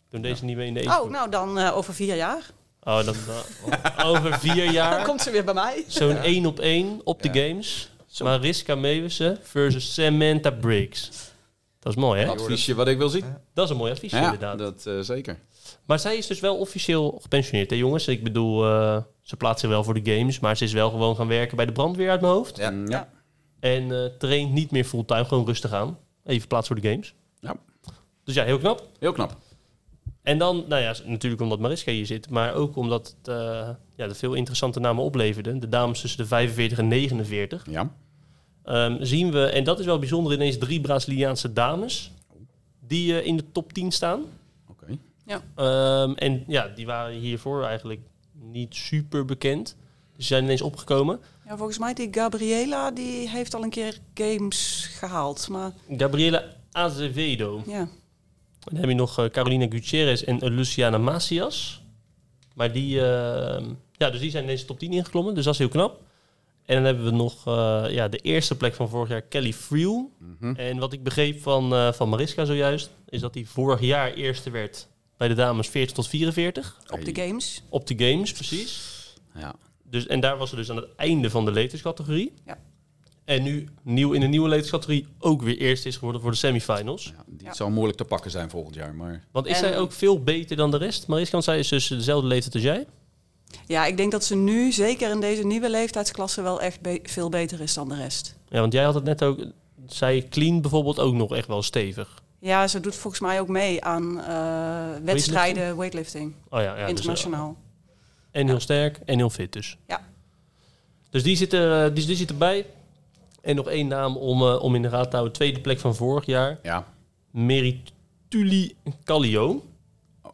Speaker 1: Toen deze niet mee in de age
Speaker 4: Oh,
Speaker 1: group.
Speaker 4: nou dan eh, over vier jaar.
Speaker 1: Oh, dat, <laughs> over vier
Speaker 4: Dan
Speaker 1: jaar.
Speaker 4: <laughs> komt ze weer bij mij.
Speaker 1: Zo'n één op één op de
Speaker 2: Ja.
Speaker 1: games. Mariska Meeuwissen versus Samantha Briggs. Dat is mooi, hè?
Speaker 3: Adviesje wat ik wil zien.
Speaker 1: Dat is een mooi advies, inderdaad.
Speaker 3: dat eh, zeker.
Speaker 1: Maar zij is dus wel officieel gepensioneerd, hè jongens? Ik bedoel, eh, ze plaatst zich wel voor de games, maar ze is wel gewoon gaan werken bij de brandweer uit mijn hoofd.
Speaker 2: Ja.
Speaker 3: Mm,
Speaker 4: Ja.
Speaker 3: Ja.
Speaker 1: En eh, traint niet meer fulltime, gewoon rustig aan. Even plaats voor de games.
Speaker 3: Ja.
Speaker 1: Dus ja, heel knap.
Speaker 3: Heel knap.
Speaker 1: En dan, nou ja, natuurlijk omdat Mariska hier zit, maar ook omdat het, eh, ja, de veel interessante namen opleverde. De dames tussen de 45 en 49.
Speaker 3: Ja.
Speaker 1: Ehm, zien we, en dat is wel bijzonder, ineens drie Braziliaanse dames die eh, in de top 10 staan.
Speaker 3: Oké.
Speaker 1: Ehm, en ja, die waren hiervoor eigenlijk niet super bekend. Dus ze zijn ineens opgekomen.
Speaker 4: Ja, volgens mij die Gabriela, die heeft al een keer games gehaald. Maar
Speaker 1: Gabriela Azevedo.
Speaker 4: ja,
Speaker 1: Dan heb je nog eh, Carolina Gutierrez en eh, Luciana Macias. Maar die, ehm, ja, dus die zijn in deze top 10 ingeklommen. Dus dat is heel knap. En dan hebben we nog eh, ja, de eerste plek van vorig jaar, Kelly Friel. En wat ik begreep van, eh, van Mariska zojuist, is dat die vorig jaar eerste werd bij de dames 40 tot 44.
Speaker 4: op de games.
Speaker 1: Op de games, precies.
Speaker 3: Ja.
Speaker 1: Dus, en daar was ze dus aan het einde van de leeftijdscategorie.
Speaker 4: Ja.
Speaker 1: En nu nieuw in de nieuwe leeftijdscategorie ook weer eerst is geworden voor de semifinals.
Speaker 3: Ja, die
Speaker 4: Ja.
Speaker 3: zal moeilijk te pakken zijn volgend jaar, maar...
Speaker 1: Want is
Speaker 4: En-
Speaker 1: zij ook veel beter dan de rest? Mariska, want zij is dus dezelfde leeftijd als jij.
Speaker 4: Ja, ik denk dat ze nu, zeker in deze nieuwe leeftijdsklasse, wel echt be- veel beter is dan de rest.
Speaker 1: Ja, want jij had het net ook, zei clean bijvoorbeeld ook nog echt wel stevig.
Speaker 4: Ja, ze doet volgens mij ook mee aan eh, wedstrijden weightlifting,
Speaker 1: Oh ja, ja dus, eh,
Speaker 4: internationaal.
Speaker 1: en heel sterk en heel fit dus.
Speaker 4: Ja.
Speaker 1: Dus die zit, er, eh, die, die zit erbij. En nog één naam om, eh, om in de raad te houden. Tweede plek van vorig jaar.
Speaker 3: Ja.
Speaker 1: Merituli Kallio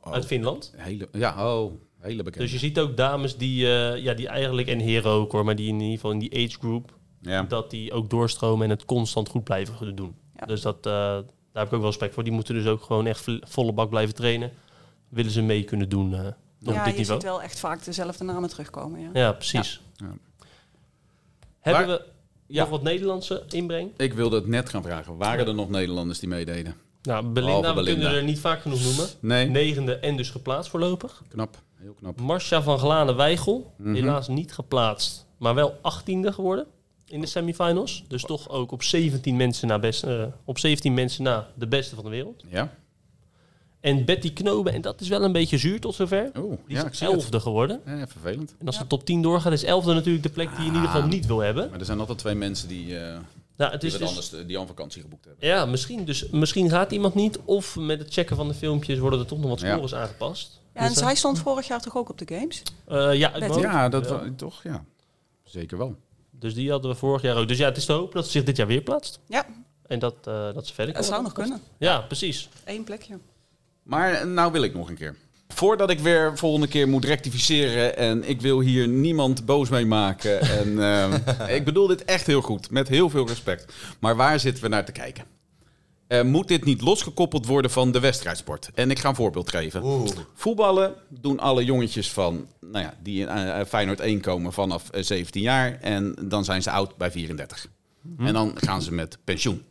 Speaker 3: Oh,
Speaker 1: uit Finland.
Speaker 3: hele, ja, oh, hele bekend.
Speaker 1: Dus je ziet ook dames die, eh, ja, die eigenlijk, en heren ook hoor, maar die in ieder geval in die age group,
Speaker 3: ja.
Speaker 1: dat die ook doorstromen en het constant goed blijven doen.
Speaker 4: Ja.
Speaker 1: Dus dat, eh, daar heb ik ook wel respect voor. Die moeten dus ook gewoon echt vo- volle bak blijven trainen. Willen ze mee kunnen doen eh, op
Speaker 4: ja,
Speaker 1: dit
Speaker 4: je
Speaker 1: niveau.
Speaker 4: ziet wel echt vaak dezelfde namen terugkomen. Ja.
Speaker 1: Ja, precies.
Speaker 3: Ja. Ja.
Speaker 1: Hebben
Speaker 3: Maar-
Speaker 1: we
Speaker 3: ja.
Speaker 1: nog wat Nederlandse inbreng?
Speaker 3: Ik wilde het net gaan vragen. Waren er nog Nederlanders die meededen?
Speaker 1: Nou, Belinda,
Speaker 3: Behalve
Speaker 1: we kunnen
Speaker 3: Belinda.
Speaker 1: er niet vaak genoeg noemen.
Speaker 3: Nee.
Speaker 1: Negende en dus geplaatst voorlopig.
Speaker 3: Knap. Heel knap.
Speaker 1: Marcia van Glane-Weigel,
Speaker 3: Mhm.
Speaker 1: helaas niet geplaatst, maar wel 18e geworden in
Speaker 3: Oh.
Speaker 1: de semifinals. Dus toch ook op 17 mensen na, best, eh, op 17 mensen na de beste van de wereld.
Speaker 3: Ja.
Speaker 1: En Betty Knoben, en dat is wel een beetje zuur tot zover,
Speaker 3: Oeh,
Speaker 1: die
Speaker 3: ja, ik
Speaker 1: is
Speaker 3: zie het.
Speaker 1: 11e geworden.
Speaker 3: Ja, vervelend.
Speaker 1: En als de top 10 doorgaat, is 11e natuurlijk de plek die je in ieder geval
Speaker 3: Ah.
Speaker 1: niet wil hebben.
Speaker 3: Maar er zijn altijd twee mensen die, eh,
Speaker 1: Nou, het
Speaker 3: die,
Speaker 1: is
Speaker 3: wat
Speaker 1: dus,
Speaker 3: anders, eh, die aan vakantie geboekt hebben.
Speaker 1: ja, misschien, dus, misschien gaat iemand niet, of met het checken van de filmpjes worden er toch nog wat
Speaker 3: Ja.
Speaker 1: scores aangepast.
Speaker 4: Ja, en
Speaker 1: Dus, eh,
Speaker 4: zij stond vorig jaar toch ook op de games?
Speaker 1: eh, ja, uit mijn
Speaker 4: Betty.
Speaker 1: hoofd.
Speaker 3: Ja, dat
Speaker 1: Ja.
Speaker 3: wa- toch, ja. Zeker wel.
Speaker 1: Dus die hadden we vorig jaar ook. Dus ja, het is te hopen dat ze zich dit jaar weer plaatst.
Speaker 4: Ja,
Speaker 1: En dat, eh, dat ze verder
Speaker 4: dat
Speaker 1: komen.
Speaker 4: zou nog kunnen.
Speaker 1: Ja, precies.
Speaker 4: Eén plekje.
Speaker 3: Maar eh, nou wil ik nog een keer. Voordat ik weer volgende keer moet rectificeren en ik wil hier niemand boos mee maken. En, <laughs> eh, ik bedoel dit echt heel goed, met heel veel respect. Maar waar zitten we naar te kijken? Eh, moet dit niet losgekoppeld worden van de wedstrijdsport? En ik ga een voorbeeld geven.
Speaker 2: Oeh.
Speaker 3: Voetballen doen alle jongetjes van, nou ja, die in eh, eh, Feyenoord 1 komen vanaf eh, 17 jaar. En dan zijn ze oud bij 34. En dan gaan ze met pensioen.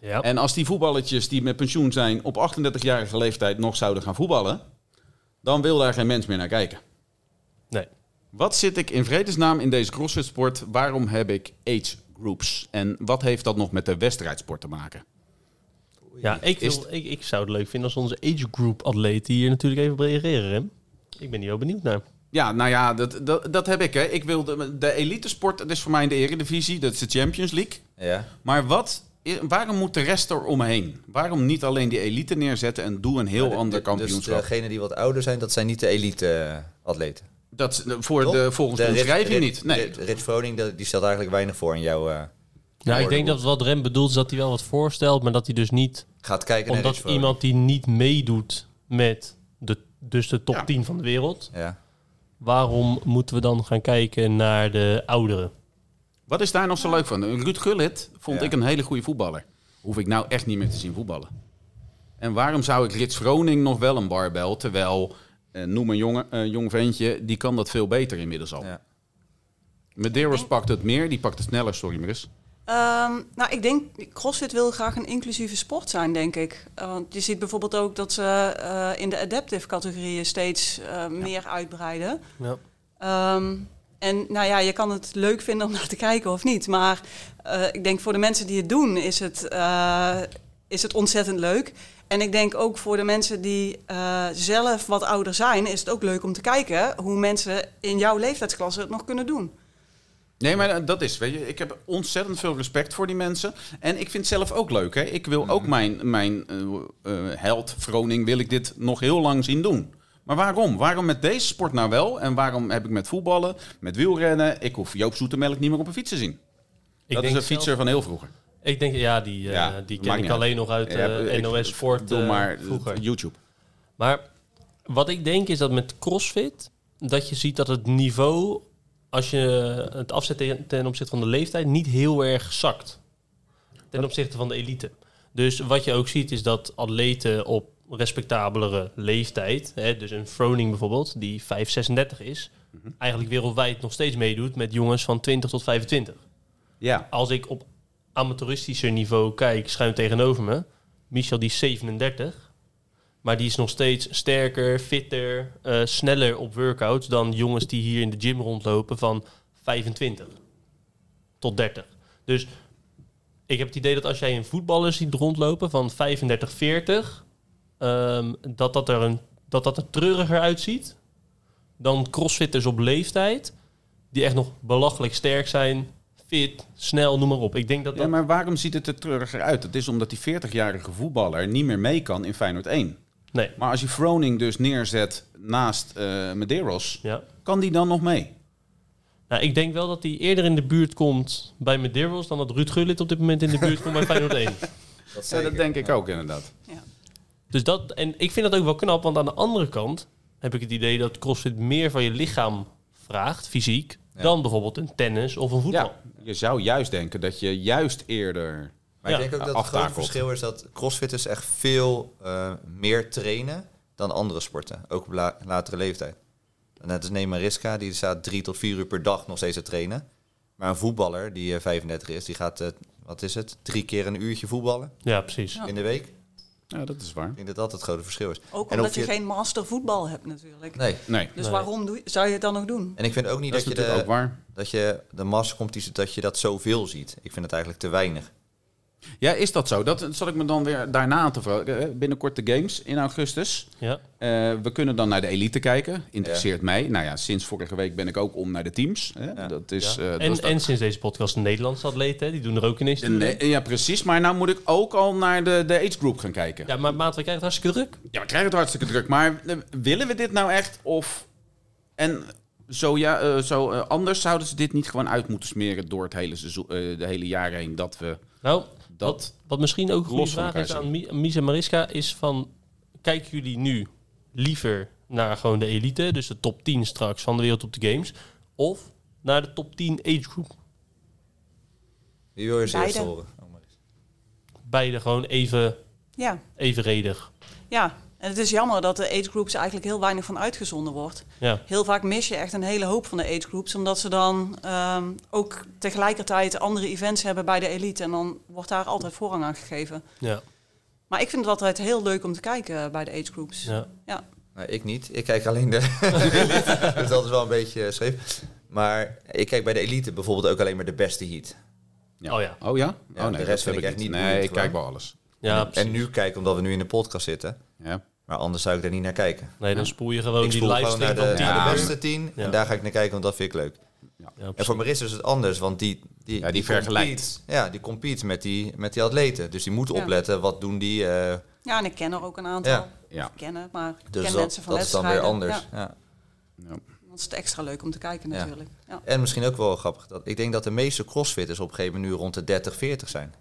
Speaker 1: Ja.
Speaker 3: En als die voetballetjes die met pensioen zijn op 38-jarige leeftijd nog zouden gaan voetballen, dan wil daar geen mens meer naar kijken.
Speaker 1: Nee.
Speaker 3: Wat zit ik in vredesnaam in deze CrossFit sport? Waarom heb ik age groups? En wat heeft dat nog met de wedstrijdsport te maken?
Speaker 1: Ja, ik,
Speaker 3: Is
Speaker 1: wil, ik, ik zou het leuk vinden als onze age group atleten hier natuurlijk even op reageren. Rem. Ik ben hier wel benieuwd naar.
Speaker 3: Ja, nou ja, dat, dat, dat heb ik. Hè. Ik wil de, de elite sport, dat is voor mij in de eredivisie, dat is de Champions League.
Speaker 2: Ja.
Speaker 3: Maar wat, waarom moet de rest er omheen? Waarom niet alleen die elite neerzetten en doe een heel
Speaker 2: Ja,
Speaker 3: ander
Speaker 2: de-
Speaker 3: kampioenschap?
Speaker 2: Dus degenen die wat ouder zijn, dat zijn niet de eh, elite-atleten.
Speaker 3: dat, is eh, voor de, volgens de, omschrijving niet. Nee.
Speaker 2: Rits Vroning, dat- die stelt eigenlijk weinig voor in jouw... eh,
Speaker 1: Ja, ik denk
Speaker 2: woordenboek.
Speaker 1: dat wat Rem bedoelt is dat hij wel wat voorstelt, maar dat hij dus niet...
Speaker 2: Gaat kijken naar
Speaker 1: omdat
Speaker 2: Rits Froning.
Speaker 1: iemand die niet meedoet met de, dus de top
Speaker 3: Ja.
Speaker 1: 10 van de wereld,
Speaker 2: Ja.
Speaker 1: waarom moeten we dan gaan kijken naar de ouderen?
Speaker 3: Wat is daar nog zo leuk van? Ruud Gullit vond
Speaker 2: Ja.
Speaker 3: ik een hele goede voetballer. Hoef ik nou echt niet meer te zien voetballen. En waarom zou ik Rits Vroning nog wel een barbel, terwijl, eh, noem een jongen, eh, jong ventje, die kan dat veel beter inmiddels al.
Speaker 2: Ja.
Speaker 3: Medeiros pakt het meer, die pakt het sneller, sorry Maris.
Speaker 4: Ehm, nou, ik denk, CrossFit wil graag een inclusieve sport zijn, denk ik. Eh, want je ziet bijvoorbeeld ook dat ze eh, in de adaptive categorieën steeds eh, meer uitbreiden.
Speaker 1: Ja.
Speaker 4: Ehm, en nou ja, je kan het leuk vinden om naar te kijken of niet. Maar eh, ik denk voor de mensen die het doen, is het, eh, is het ontzettend leuk. En ik denk ook voor de mensen die eh, zelf wat ouder zijn, is het ook leuk om te kijken hoe mensen in jouw leeftijdsklasse het nog kunnen doen.
Speaker 3: Nee, maar eh, dat is, weet je, ik heb ontzettend veel respect voor die mensen. En ik vind het zelf ook leuk, hè. Ik wil
Speaker 1: Mhm.
Speaker 3: ook mijn, mijn eh, eh, held, Vroning, wil ik dit nog heel lang zien doen. Maar waarom? Waarom met deze sport nou wel? En waarom heb ik met voetballen, met wielrennen... Ik hoef Joop Zoetemelk niet meer op een fiets te zien.
Speaker 1: Ik
Speaker 3: dat is
Speaker 1: denk
Speaker 3: een
Speaker 1: zelf-
Speaker 3: fietser van heel vroeger.
Speaker 1: Ik denk, ja, die, eh,
Speaker 3: Ja,
Speaker 1: die
Speaker 3: maakt
Speaker 1: ken ik
Speaker 3: niet uit.
Speaker 1: alleen nog uit
Speaker 3: Ja,
Speaker 1: eh,
Speaker 3: ik-
Speaker 1: NOS Sport
Speaker 3: Doe
Speaker 1: eh,
Speaker 3: maar eh,
Speaker 1: vroeger.
Speaker 3: YouTube.
Speaker 1: Maar wat ik denk is dat met CrossFit, dat je ziet dat het niveau, als je het afzet ten, ten opzichte van de leeftijd, niet heel erg zakt. Ten opzichte van de elite. Dus wat je ook ziet is dat atleten op respectabelere leeftijd, hè, dus een Froning bijvoorbeeld, die 5, 36 is, eigenlijk wereldwijd nog steeds meedoet met jongens van 20 tot 25
Speaker 3: Ja.
Speaker 1: als ik op amateuristischer niveau kijk, schuin tegenover me. Michel die is 37. Maar die is nog steeds sterker, fitter, eh, sneller op workouts dan jongens die hier in de gym rondlopen van 25 tot 30. Dus ik heb het idee dat als jij een voetballer ziet rondlopen van 35, 40, ehm, dat, dat, er een, dat dat er treuriger uitziet dan crossfitters op leeftijd, die echt nog belachelijk sterk zijn, fit, snel, noem maar op. Ik denk dat dat...
Speaker 3: Ja, maar waarom ziet het er treuriger uit? Dat is omdat die 40-jarige voetballer niet meer mee kan in Feyenoord 1.
Speaker 1: Nee.
Speaker 3: Maar als je Froning dus neerzet naast eh, Medeiros,
Speaker 1: Ja.
Speaker 3: kan die dan nog mee?
Speaker 1: Nou, ik denk wel dat hij eerder in de buurt komt bij Medeiros dan dat Ruud Gullit op dit moment in de buurt komt bij Feyenoord 1.
Speaker 2: Dat,
Speaker 3: Ja, dat denk ik ook inderdaad.
Speaker 4: Ja.
Speaker 1: Dus dat, en ik vind dat ook wel knap, want aan de andere kant heb ik het idee dat CrossFit meer van je lichaam vraagt, fysiek,
Speaker 2: Ja.
Speaker 1: dan bijvoorbeeld een tennis of een voetbal.
Speaker 3: Ja, je zou juist denken dat je juist eerder...
Speaker 2: Maar
Speaker 1: Ja.
Speaker 2: ik denk ook dat het
Speaker 3: Aftakelt.
Speaker 2: grote verschil is dat crossfitters echt veel eh, meer trainen dan andere sporten. Ook op la- latere leeftijd. Net als Neymar Riska, die staat drie tot vier uur per dag nog steeds te trainen. Maar een voetballer die eh, 35 is, die gaat, eh, wat is het, drie keer een uurtje voetballen
Speaker 1: Ja, precies.
Speaker 4: Ja.
Speaker 2: in de week. Ik
Speaker 3: Ja, dat is waar.
Speaker 2: denk dat dat het grote verschil is.
Speaker 4: Ook
Speaker 2: En
Speaker 4: omdat
Speaker 2: of
Speaker 4: je,
Speaker 2: je-
Speaker 4: geen master voetbal hebt natuurlijk.
Speaker 2: Nee.
Speaker 3: Nee,
Speaker 4: Dus
Speaker 1: Nee.
Speaker 4: waarom doe, zou je het dan nog doen?
Speaker 2: En ik vind ook niet
Speaker 3: dat
Speaker 2: dat,
Speaker 3: is
Speaker 2: je
Speaker 3: natuurlijk ook
Speaker 2: de,
Speaker 3: waar.
Speaker 2: dat je de massacompetitie, dat je dat zoveel ziet. Ik vind het eigenlijk te weinig.
Speaker 3: Ja, is dat zo? Dat zat ik me dan weer daarna aan te vragen. Eh, Binnenkort de Games in augustus.
Speaker 1: Ja.
Speaker 3: Eh, we kunnen dan naar de elite kijken. Interesseert
Speaker 2: Ja.
Speaker 3: mij. Nou ja, sinds vorige week ben ik ook om naar de teams. Hè? Dat is,
Speaker 1: Ja.
Speaker 3: eh, dat
Speaker 1: en,
Speaker 3: is dat-
Speaker 1: en sinds deze podcast een Nederlandse atleet, hè, die doen er ook ineens
Speaker 3: de-
Speaker 1: toe.
Speaker 3: nee, ja, precies. Maar nou moet ik ook al naar de, de age group gaan kijken. Ja.
Speaker 1: Ja, maar maat, we krijgen het hartstikke druk.
Speaker 3: we krijgen het hartstikke druk. Maar eh, willen we dit nou echt? Of... En zo, ja, eh, zo eh, anders zouden ze dit niet gewoon uit moeten smeren door het hele seizoen, eh, de hele jaar heen. Dat we
Speaker 1: Nou,
Speaker 3: dat...
Speaker 1: wat misschien ook een goede
Speaker 3: Los van
Speaker 1: vraag is
Speaker 3: elkaar
Speaker 1: aan Mi- aan Mies en Mariska, is van, kijken jullie nu liever naar gewoon de elite, dus de top 10 straks van de wereld op de games, of naar de top 10 age group?
Speaker 2: Wie wil je als
Speaker 4: Beide.
Speaker 2: eerste horen? Oh, maar-
Speaker 1: Beide gewoon even,
Speaker 4: Ja,
Speaker 1: evenredig.
Speaker 4: ja. En het is jammer dat de age groups eigenlijk heel weinig van uitgezonden wordt.
Speaker 1: Ja.
Speaker 4: Heel vaak mis je echt een hele hoop van de age groups, omdat ze dan ehm, ook tegelijkertijd andere events hebben bij de elite. En dan wordt daar altijd voorrang aan gegeven.
Speaker 1: Ja,
Speaker 4: Maar ik vind het altijd heel leuk om te kijken eh, bij de age groups.
Speaker 1: ja.
Speaker 4: Ja.
Speaker 2: Nou, ik niet. Ik kijk alleen de <laughs> dus dat is wel een beetje scheef. Maar ik kijk bij de elite bijvoorbeeld ook alleen maar de beste heat.
Speaker 1: Oh ja.
Speaker 3: Oh ja?
Speaker 2: Ja,
Speaker 3: oh
Speaker 2: de
Speaker 3: dat
Speaker 2: rest vind
Speaker 3: heb
Speaker 2: ik echt niet
Speaker 3: Nee,
Speaker 2: boeiend
Speaker 3: ik kijk
Speaker 2: gewoon.
Speaker 3: wel alles.
Speaker 1: ja precies.
Speaker 2: en nu kijk, omdat we nu in de podcast zitten.
Speaker 3: Ja.
Speaker 2: Maar anders zou ik daar niet naar kijken.
Speaker 1: Nee, dan spoel je gewoon
Speaker 2: ik
Speaker 1: Oh, die
Speaker 2: spoel gewoon naar
Speaker 1: livestream van
Speaker 2: de,
Speaker 1: 10
Speaker 3: tien
Speaker 2: naar de
Speaker 3: uur.
Speaker 2: beste tien.
Speaker 1: Ja.
Speaker 2: En daar ga ik naar kijken, want dat vind ik leuk.
Speaker 1: Ja,
Speaker 2: En
Speaker 1: precies.
Speaker 2: voor Maris is het anders, want die... die,
Speaker 3: Ja, die vergelijkt.
Speaker 2: compete- ja, die compete met die, met die atleten. Dus die moeten
Speaker 4: Ja.
Speaker 2: opletten, wat doen die. eh,
Speaker 4: ja, en ik ken er ook een aantal.
Speaker 2: Ja.
Speaker 3: Ja.
Speaker 4: Kennen, maar ik
Speaker 2: dus
Speaker 4: ken
Speaker 2: dat,
Speaker 4: mensen van
Speaker 2: dat is dan weer
Speaker 4: wedstrijden.
Speaker 2: anders.
Speaker 4: Ja,
Speaker 2: Ja.
Speaker 3: Ja.
Speaker 4: dan is het extra leuk om te kijken
Speaker 2: Ja.
Speaker 4: natuurlijk. Ja.
Speaker 2: En misschien ook wel grappig. Dat, ik denk dat de meeste crossfitters op een gegeven moment nu rond de 30, 40 zijn.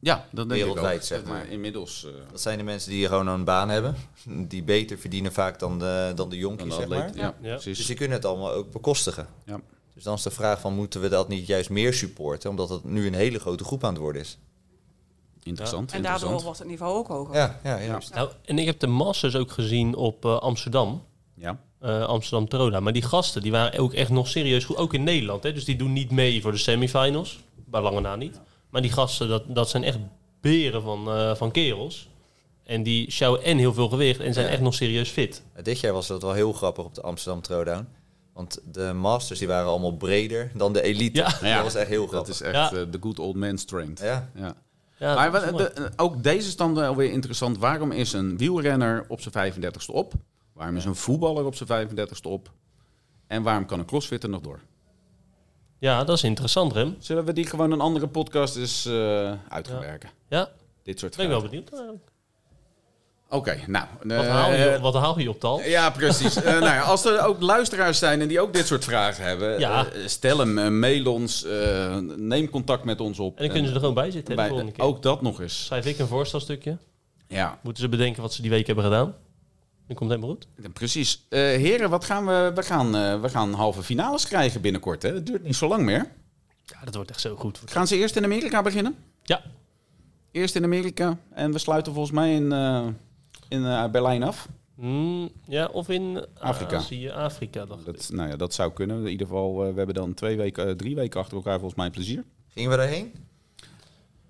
Speaker 3: Ja, dat denk ik
Speaker 2: Wereldwijd,
Speaker 3: ook.
Speaker 2: zeg maar.
Speaker 3: inmiddels... eh,
Speaker 2: Dat zijn de mensen die gewoon een baan hebben. Die beter verdienen vaak dan de, dan de
Speaker 3: dan
Speaker 2: jonkies,
Speaker 3: de
Speaker 2: zeg maar.
Speaker 3: atleet. Ja,
Speaker 1: Ja.
Speaker 2: Dus
Speaker 3: precies.
Speaker 2: die kunnen het allemaal ook bekostigen.
Speaker 3: Ja.
Speaker 2: Dus dan is de vraag van, moeten we dat niet juist meer supporten? Omdat het nu een hele grote groep aan het worden is.
Speaker 3: Interessant,
Speaker 4: En daardoor
Speaker 3: interessant.
Speaker 4: wordt het niveau ook
Speaker 3: Oh.
Speaker 4: hoger.
Speaker 2: Ja, ja, juist.
Speaker 1: Nou, en ik heb de Masters ook gezien op eh, Amsterdam.
Speaker 3: Ja.
Speaker 1: eh Amsterdam Troda. Maar die gasten die waren ook echt nog serieus goed. Ook in Nederland. Hè? Dus die doen niet mee voor de semifinals. Bij lange na niet. Maar die gasten, dat, dat zijn echt beren van, eh, van kerels. En die sjouwen en heel veel gewicht. En zijn
Speaker 2: Ja.
Speaker 1: echt nog serieus fit.
Speaker 2: Dit jaar was dat wel heel grappig op de Amsterdam Throwdown. Want de masters die waren allemaal breder dan de elite.
Speaker 1: Ja.
Speaker 2: Dat was echt heel
Speaker 3: Dat
Speaker 2: grappig.
Speaker 3: is echt
Speaker 1: Ja.
Speaker 3: eh, de good old man strength.
Speaker 2: Ja.
Speaker 3: Ja.
Speaker 1: Ja,
Speaker 3: maar
Speaker 1: dat is
Speaker 3: wat-
Speaker 1: Oh, mooi.
Speaker 3: de- eh, ook deze stand wel weer interessant. Waarom is een wielrenner op zijn 35ste op? Waarom is een voetballer op zijn 35ste op? En waarom kan een crossfitter nog door?
Speaker 1: ja, dat is interessant, Rem.
Speaker 3: Zullen we die gewoon een andere podcast eens eh uitgewerken?
Speaker 1: Ja,
Speaker 3: Dit soort
Speaker 1: ben ik wel
Speaker 3: vragen.
Speaker 1: benieuwd. eigenlijk.
Speaker 2: Eh,
Speaker 3: Oké, nou.
Speaker 1: Wat,
Speaker 3: eh,
Speaker 1: haal je, wat haal je op tal?
Speaker 3: Ja, precies. Eh, nou ja, als er ook luisteraars zijn en die ook dit soort vragen hebben,
Speaker 1: Ja.
Speaker 3: eh, stel hem, eh, mail ons, eh, neem contact met ons op.
Speaker 1: En dan kunnen ze er gewoon bij zitten. hè, de
Speaker 3: bij-
Speaker 1: volgende keer.
Speaker 3: Ook dat nog eens.
Speaker 1: Schrijf ik een voorstelstukje.
Speaker 3: Ja,
Speaker 1: Moeten ze bedenken wat ze die week hebben gedaan. Dan komt het helemaal goed.
Speaker 3: precies. Eh, heren, wat gaan we, we, gaan, eh, we gaan halve finales krijgen binnenkort. Hè? Het duurt niet zo lang meer.
Speaker 1: Ja, dat wordt echt zo goed.
Speaker 3: Gaan ze eerst in Amerika beginnen?
Speaker 1: Ja,
Speaker 3: Eerst in Amerika en we sluiten volgens mij in, eh, in eh, Berlijn af.
Speaker 1: Mm, ja of in
Speaker 3: Afrika.
Speaker 1: Azië, Afrika. dacht ik.
Speaker 3: Dat, nou ja, dat zou kunnen. In ieder geval, eh, we hebben dan twee weken, eh, drie weken achter elkaar volgens mij plezier.
Speaker 2: Gingen we daarheen?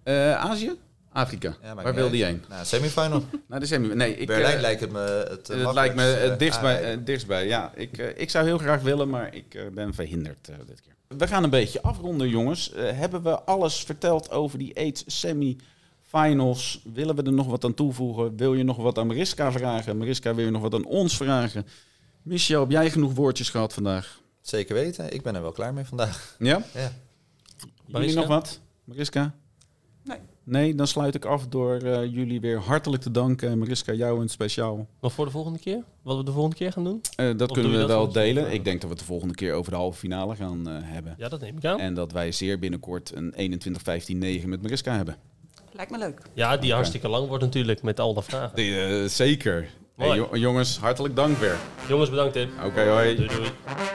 Speaker 3: Eh, Azië? Afrika.
Speaker 2: Ja, maakt
Speaker 3: Waar
Speaker 2: niet
Speaker 3: wilde je
Speaker 2: uit.
Speaker 3: heen?
Speaker 2: Nou, semifinal.
Speaker 3: Nou, dat is helemaal- Nee, <laughs> ik,
Speaker 2: Berlijn
Speaker 3: eh,
Speaker 2: lijkt het me het eh,
Speaker 3: Het lijkt me
Speaker 2: makkelijkst,
Speaker 3: het
Speaker 2: eh,
Speaker 3: dichtst bij,
Speaker 2: aanrijden.
Speaker 3: het dichtst bij, ja. Ik, eh, ik zou heel graag willen, maar ik eh, ben verhinderd eh, dit keer. We gaan een beetje afronden, jongens. Eh, hebben we alles verteld over die AIDS semi-finals? Willen we er nog wat aan toevoegen? Wil je nog wat aan Mariska vragen? Mariska, wil je nog wat aan ons vragen? Michel, heb jij genoeg woordjes gehad vandaag?
Speaker 2: Zeker weten. Ik ben er wel klaar mee vandaag.
Speaker 3: Ja?
Speaker 2: Ja.
Speaker 1: Mariska?
Speaker 3: Jullie nog wat? Mariska?
Speaker 4: Nee.
Speaker 3: Nee, dan sluit ik af door eh, jullie weer hartelijk te danken. En Mariska, jou in het speciaal.
Speaker 1: Nog voor de volgende keer? Wat we de volgende keer gaan doen?
Speaker 3: Eh, dat
Speaker 1: Of
Speaker 3: kunnen
Speaker 1: doe
Speaker 3: we
Speaker 1: je dat
Speaker 3: wel
Speaker 1: volgens mij?
Speaker 3: delen. Ik denk dat we het de volgende keer over de halve finale gaan eh, hebben.
Speaker 1: Ja, dat neem ik aan.
Speaker 3: En dat wij zeer binnenkort een 21-15-9 met Mariska hebben.
Speaker 4: Lijkt me leuk.
Speaker 1: Ja, die hartstikke lang wordt natuurlijk met al de vragen.
Speaker 3: Eh, zeker.
Speaker 1: Mooi.
Speaker 3: jongens, hartelijk dank weer.
Speaker 1: Jongens, bedankt hè.
Speaker 3: Oké, hoi.
Speaker 1: Doei doei.